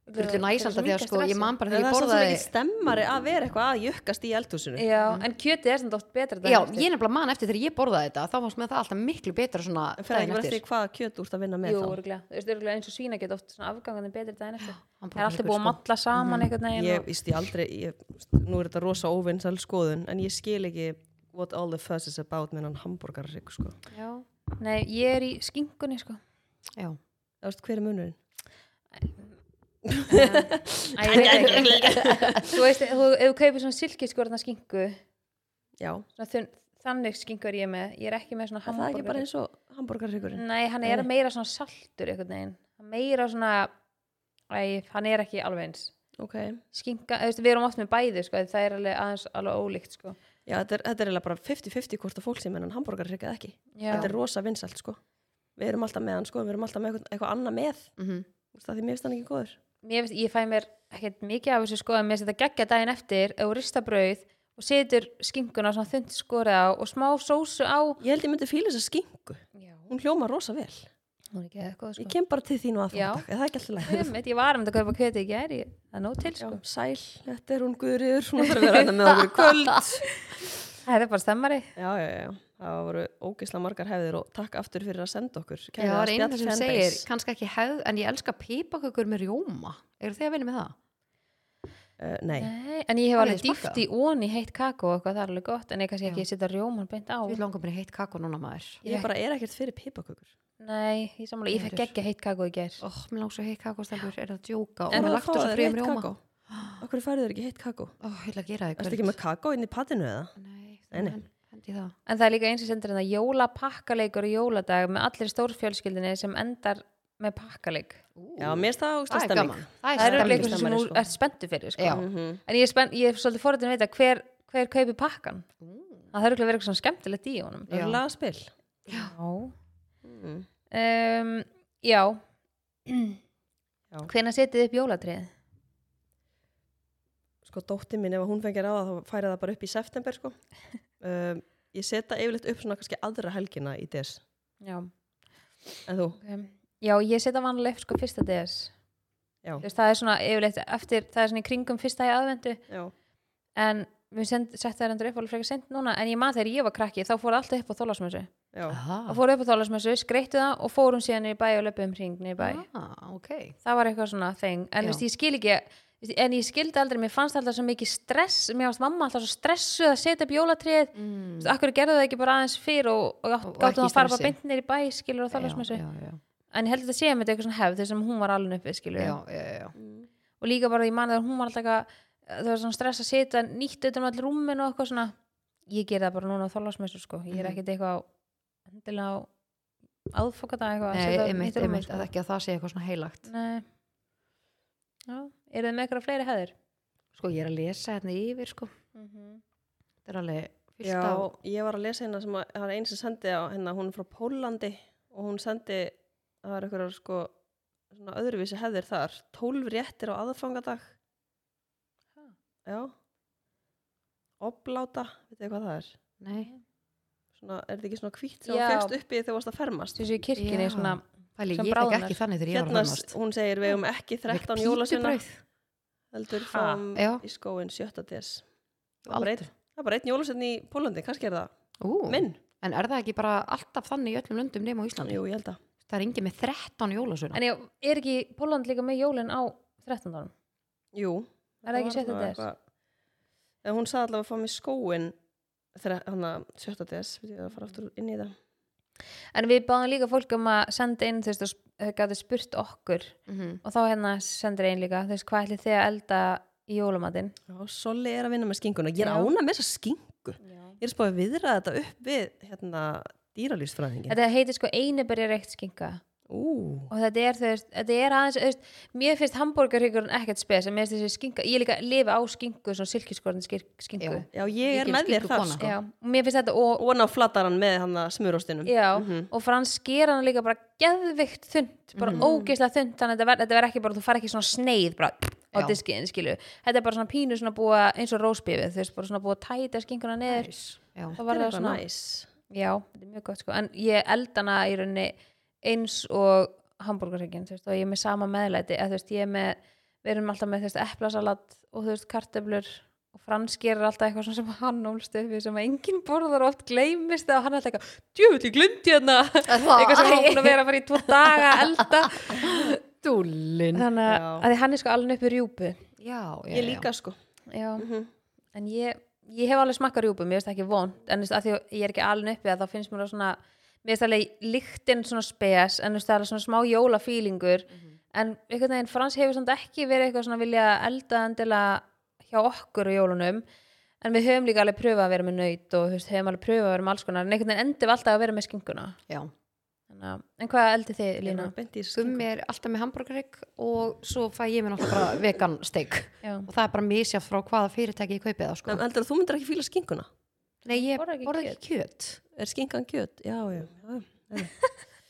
Speaker 1: Þau-
Speaker 2: þú veist, næsanda
Speaker 1: þau
Speaker 2: því
Speaker 1: eru
Speaker 2: að
Speaker 1: svo
Speaker 2: sko,
Speaker 1: mikið
Speaker 2: ég man bara
Speaker 3: En
Speaker 2: þegar ég
Speaker 3: það er samt sem
Speaker 2: borðaði
Speaker 3: ekki stemmari að vera eitthvað að jökkast í eldhúsinu
Speaker 1: Já, en kjötið er samt oft betra daginn
Speaker 2: Já,
Speaker 1: eftir.
Speaker 2: ég nefnilega man eftir þegar ég borðaði þetta þá fannst mér það alltaf miklu betra svona
Speaker 3: En fer það
Speaker 2: daginn
Speaker 3: ekki bara eftir
Speaker 2: eftir
Speaker 3: því hvaða kjöt úr það vinna með
Speaker 1: Jú,
Speaker 3: þá?
Speaker 1: örgulega, þú veist, örgulega eins og svína geta oft svona afgangan betri daginn eftir
Speaker 2: hann
Speaker 1: Það er alltaf búið að
Speaker 2: sko.
Speaker 1: matla saman einhvern veginn
Speaker 3: Ég
Speaker 1: og-
Speaker 3: víst ég aldrei, ég, nú er þetta rosa óvinnsal skoðun, en ég skil ekki what all the fuss is about með hann hambúrgarrygg sko.
Speaker 1: Já. Nei, ég er í skinkunni sko
Speaker 2: Já,
Speaker 3: Það veist hver er munurinn?
Speaker 1: Æ, ég veit það ekki. Þú veist, þú, ef þú kaupir svona silkiskórna skinku
Speaker 3: Já,
Speaker 1: svona þunn, þannig skinku er ég með ég er ekki með svona
Speaker 3: er það ekki
Speaker 1: hambúrgar
Speaker 3: bara eins og hambúrgarryggurinn?
Speaker 1: Nei, hann er meira svona saltur einhvern veginn meira svona Æ, hann er ekki alveg eins
Speaker 3: Ok,
Speaker 1: skinka, þú veist, við erum oft með bæði sko, það er alveg aðeins alveg ólíkt sko
Speaker 3: já þetta er, þetta er eiginlega bara 50-50 hvort að fólk sem hann hambúrgarrygg eða ekki.
Speaker 1: Já.
Speaker 3: Þetta er rosa vinsalt sko. Við erum alltaf með hann sko, við erum alltaf með eitthvað, eitthvað annað með,
Speaker 2: mhm
Speaker 3: Þú veist, af því mér finnst hann ekki góður.
Speaker 1: mér finnst, ég fæ mér ekkert mikið af þessu sko en mér finnst þetta geggja daginn eftir ef þú rista brauð og setur skinkuna svona þund skorið á og smá sósu á
Speaker 3: Ég held ég myndi fíla þess skingu.
Speaker 1: já,
Speaker 3: Hún hljóma rosa vel.
Speaker 1: hún er ekki eða eitthvað
Speaker 3: Ég
Speaker 1: sko
Speaker 3: kem bara til þín og
Speaker 1: Já.
Speaker 3: aðfangadag, er það ekki alltaf leið?
Speaker 1: ég, ég var um þetta að kaupa kjöti í gær ég- það er nóg til
Speaker 3: Já,
Speaker 1: sko
Speaker 3: sæl, þetta er hún Guðriður, hún ætlar að vera hérna með okkur í kvöld.
Speaker 1: það er bara stemmari
Speaker 3: Já, já, já, það voru ógisla margar hefðir og takk aftur fyrir að senda okkur.
Speaker 2: Já, það er einn sem segir, kannski ekki hefð en ég elska pipakökur með rjóma eru þið að vinna með það?
Speaker 3: Uh, nei,
Speaker 1: Nei, en ég hef
Speaker 2: Það
Speaker 1: alveg
Speaker 2: er smakka.
Speaker 1: dýft í óni heitt kakó og eitthvað það er alveg gott en ég kannski ekki setja rjóman beint á
Speaker 2: Við langar mér í heitt kakó núna maður
Speaker 3: ég bara er ekkert fyrir pipakökur.
Speaker 1: nei, ég samlega, ég fekk
Speaker 2: Heyrur.
Speaker 1: geggja heitt kakó í gær
Speaker 2: Ó, mér langar svo heitt kakó stelpur, er það að djóka og
Speaker 3: En
Speaker 2: maður
Speaker 3: það
Speaker 2: lagt þess
Speaker 3: fá
Speaker 2: að
Speaker 3: þér
Speaker 2: fríum
Speaker 3: heitt
Speaker 2: rjóma
Speaker 3: kakó. Okkur færið þér ekki heitt kakó?
Speaker 2: Ó, ég ætla að gera það í
Speaker 3: Erstu
Speaker 2: kvöld.
Speaker 3: ekki með kakó inn í patinu eða?
Speaker 2: Nei,
Speaker 3: Nei, nei.
Speaker 2: hen- hendi í það
Speaker 1: En það er líka eins og sendur hérna jólapakkalegur og jóladag með allir stórfjölskyldinni sem endar með pakkaleik.
Speaker 3: Já, mér finnst það ógisla
Speaker 2: Það er
Speaker 3: stemming.
Speaker 2: gaman
Speaker 1: Það er
Speaker 2: stemning,
Speaker 1: alveg eitthvað sem
Speaker 2: stemmari,
Speaker 1: þú
Speaker 2: sko.
Speaker 1: ert spenntu fyrir, sko.
Speaker 2: Já.
Speaker 3: Mhm.
Speaker 1: En ég er, spennt, ég er svolítið fóruðin að vita hver, hver kaupir pakkan. Það þarf ekki að vera eitthvað svona skemmtilegt í honum.
Speaker 3: Það
Speaker 2: Já.
Speaker 3: er lagaspil.
Speaker 1: Já.
Speaker 3: Mm.
Speaker 1: Um, já.
Speaker 3: Já.
Speaker 1: Hvenær setið þið upp jólatrið?
Speaker 3: Sko, dótti mín, ef hún fengir á það, þá færi það bara upp í september, sko. Um, ég seta yfirleitt upp svona kannski aðra helgina í des.
Speaker 1: Já.
Speaker 3: En þú?
Speaker 1: Um, já, ég setja vanlega upp sko fyrsta DS.
Speaker 3: Já.
Speaker 1: Þú veist, Það er svona yfirleitt eftir, það er svona í kringum fyrsta í aðvendu.
Speaker 3: Já.
Speaker 1: en við send, settum það endur upp alveg frekar sent núna en ég man þegar ég var krakki þá fór það alltaf upp á þólasmössu
Speaker 3: Já.
Speaker 2: Aha.
Speaker 1: þá fór upp á þólasmössu, skreittu það og fórum síðan niður í bæ og löpum hring niður í bæ
Speaker 2: Ah, ok
Speaker 1: það var eitthvað svona þeng en
Speaker 2: Já.
Speaker 1: veist, ég skil ekki veist, en ég skildi aldrei, mér fannst alltaf svo mikið stress mér fannst mamma alltaf svo stressuð að setja upp jólatrið mm.
Speaker 2: mm.
Speaker 1: akkur gerðu það ekki bara aðeins fyrr og, og,
Speaker 2: Og- og
Speaker 1: og gáttu það að
Speaker 2: ekki
Speaker 1: fara bara
Speaker 2: stressi.
Speaker 1: beint niður í bæ skilur á þólasmössu
Speaker 2: Já, já,
Speaker 1: en ég held að þetta sé að þetta eitthvað svona hefð þessum hún var alveg uppið skilur
Speaker 2: já, já, já, já.
Speaker 1: og líka bara ég man þegar hún var alltaf eitthvað, það var svona stress að setja nýtt utan allir rúmin og eitthvað svona ég ger það bara núna á þólasmessu sko ég er
Speaker 2: Mhm.
Speaker 1: ekkert eitthvað á- endilega á aðfokata eitthvað að
Speaker 2: Nei,
Speaker 1: setja
Speaker 2: einmitt,
Speaker 1: nýtt rúmin,
Speaker 2: einmitt,
Speaker 1: sko. Mm.
Speaker 2: að ekki að það sé eitthvað svona heilagt
Speaker 1: Nei. Já, eru þið með eitthvað fleiri hefðir?
Speaker 2: Sko, ég er að lesa hérna yfir, sko
Speaker 1: Mhm.
Speaker 2: Þetta er alveg fyllt
Speaker 3: Já,
Speaker 2: af-
Speaker 3: ég var að lesa hérna sem að það er einn sem sendi á hérna, hún er frá Pólandi og hún sendi, það er einhverjar sko svona öðruvísi hefðir þar, tólf réttir á aðfangadag já obláta, veit þið hvað það er
Speaker 2: Nei,
Speaker 3: svona, er þetta ekki svona hvítt sem
Speaker 1: Já.
Speaker 3: þú fegst uppi þegar þú varst að fermast
Speaker 1: þessu í kirkjunni
Speaker 2: Já.
Speaker 1: svona
Speaker 2: Pæli,
Speaker 1: Sem
Speaker 2: ég fekk
Speaker 1: bráðnar.
Speaker 2: ekki þannig þegar ég var að
Speaker 3: hérna,
Speaker 2: fermast.
Speaker 3: hún segir við um ekki
Speaker 2: Ég fékk
Speaker 3: 13 jólasina
Speaker 2: pítubrauð.
Speaker 3: heldur
Speaker 1: Ha,
Speaker 3: fáum
Speaker 2: já.
Speaker 3: í skóin 7. des það er bara
Speaker 2: Aldrei.
Speaker 3: einn- það er bara einn jólasinn í Pólandi, kannski er það
Speaker 2: Ú,
Speaker 3: minn,
Speaker 2: en er það ekki bara alltaf þannig í öllum löndum nema á Íslandi?
Speaker 3: jú ég held að
Speaker 2: Það er engin með 13 jólasuna.
Speaker 1: en ég, er ekki Póland líka með jólin á 13. árum
Speaker 3: jú,
Speaker 1: Er það ekki
Speaker 3: var
Speaker 1: 7.
Speaker 3: allavega
Speaker 1: des?
Speaker 3: eitthvað- en hún sagði allavega að fáum í skóin hann að 7. des við erum að fara aftur inn í það
Speaker 1: en við báðum líka fólk um að senda inn þú veist, og sp- þau gæti spurt okkur
Speaker 2: Mm -hmm.
Speaker 1: og þá hérna sendir einn líka þú veist, hvað ætli þið að elda í jólamatinn
Speaker 3: Já, Solli er að vinna með skinguna. Ég er
Speaker 1: Já.
Speaker 3: ána með þessa skingu.
Speaker 1: Já.
Speaker 3: Ég er spáð að viðra þetta upp við hérna, dýralýsfræðingin.
Speaker 1: þetta heitir sko einiberja reykt skinka
Speaker 3: Ú,
Speaker 1: og þetta er, þú veist, þetta er aðeins þú veist, mér finnst hambúrgarhyggurinn ekkert spes en mér finnst þessi skinka, ég líka lifi á skinku svona silkiskorðin skinku
Speaker 2: Já.
Speaker 1: já.
Speaker 3: já, ég er
Speaker 2: Mikil
Speaker 3: með þér þar
Speaker 2: skinkukona.
Speaker 3: sko.
Speaker 1: og mér finnst þetta og,
Speaker 3: Og hann á flataran með hann að smurostinum.
Speaker 1: já,
Speaker 3: Mhm.
Speaker 1: og frans sker hann líka bara geðvikt þund, bara ógeðslega þund þannig að þetta verð- þetta verð ekki bara, þú far ekki svona sneið bara á
Speaker 2: Já.
Speaker 1: diskiðin, skilu þetta er bara svona pínu svona búa, eins og rósbífið þú veist, bara svona búa að tæta skinkuna niður
Speaker 2: Já.
Speaker 1: þá
Speaker 3: Það
Speaker 1: var
Speaker 3: er
Speaker 1: það
Speaker 3: eitthvað
Speaker 1: svona,
Speaker 3: næs.
Speaker 1: já, þetta er mjög gott sko en ég elda hana í rauninni eins og hambúrgarhygginn, þú veist, og ég er með sama meðlæti, að þú veist, ég er með við erum alltaf með, þú veist, eplasalat og þú veist, kartöflur og Frans gerir alltaf eitthvað svona sem hann ólst upp við sem að enginn borðar og oft gleymist og hann er alltaf eitthvað, djöfull, ég glundi hérna eitthvað sem hann var búin að vera að fara í tvo daga að elda
Speaker 2: Dúllin.
Speaker 1: þannig að,
Speaker 3: Já.
Speaker 1: að því hann er sko alveg upp í rjúpu
Speaker 2: Já, já,
Speaker 3: Ég líka sko.
Speaker 1: já.
Speaker 3: Mhm.
Speaker 1: en ég, ég hef alveg smakkað rjúpu mér finnst það ekki vond, en þú veist, að því að ég er ekki alveg uppi að þá finnst mér það svona mér finnst alveg líktinn svona spes en þú veist, það er svona smá jólafílingur
Speaker 3: Mhm.
Speaker 1: en einhvern veginn Frans hefur svona ekki verið eitthvað svona vilja elda endilega hjá okkur á jólunum en við höfum líka alveg pröfað að vera með nöyt og þú veist, höfum alveg pröfað að vera með alls konar en einhvern veginn endur við alltaf að vera með skinguna
Speaker 2: Já.
Speaker 1: en, en hvað eldið þið,
Speaker 3: Ég er
Speaker 1: Lína?
Speaker 3: bara beint í þessa
Speaker 2: Gummi
Speaker 3: skingu.
Speaker 2: er alltaf með hambúrgarrygg og svo fæ ég mér náttúrulega bara vegan steik.
Speaker 1: Já.
Speaker 2: Og það er bara misjafn frá hvaða fyrirtæki ég kaupið það, sko.
Speaker 3: En heldur að þú myndir ekki fíla skinguna?
Speaker 2: Nei, ég
Speaker 1: Borða
Speaker 2: borða
Speaker 1: ekki
Speaker 2: ekki, kjöt.
Speaker 3: Er skingan kjöt? Já, já. já.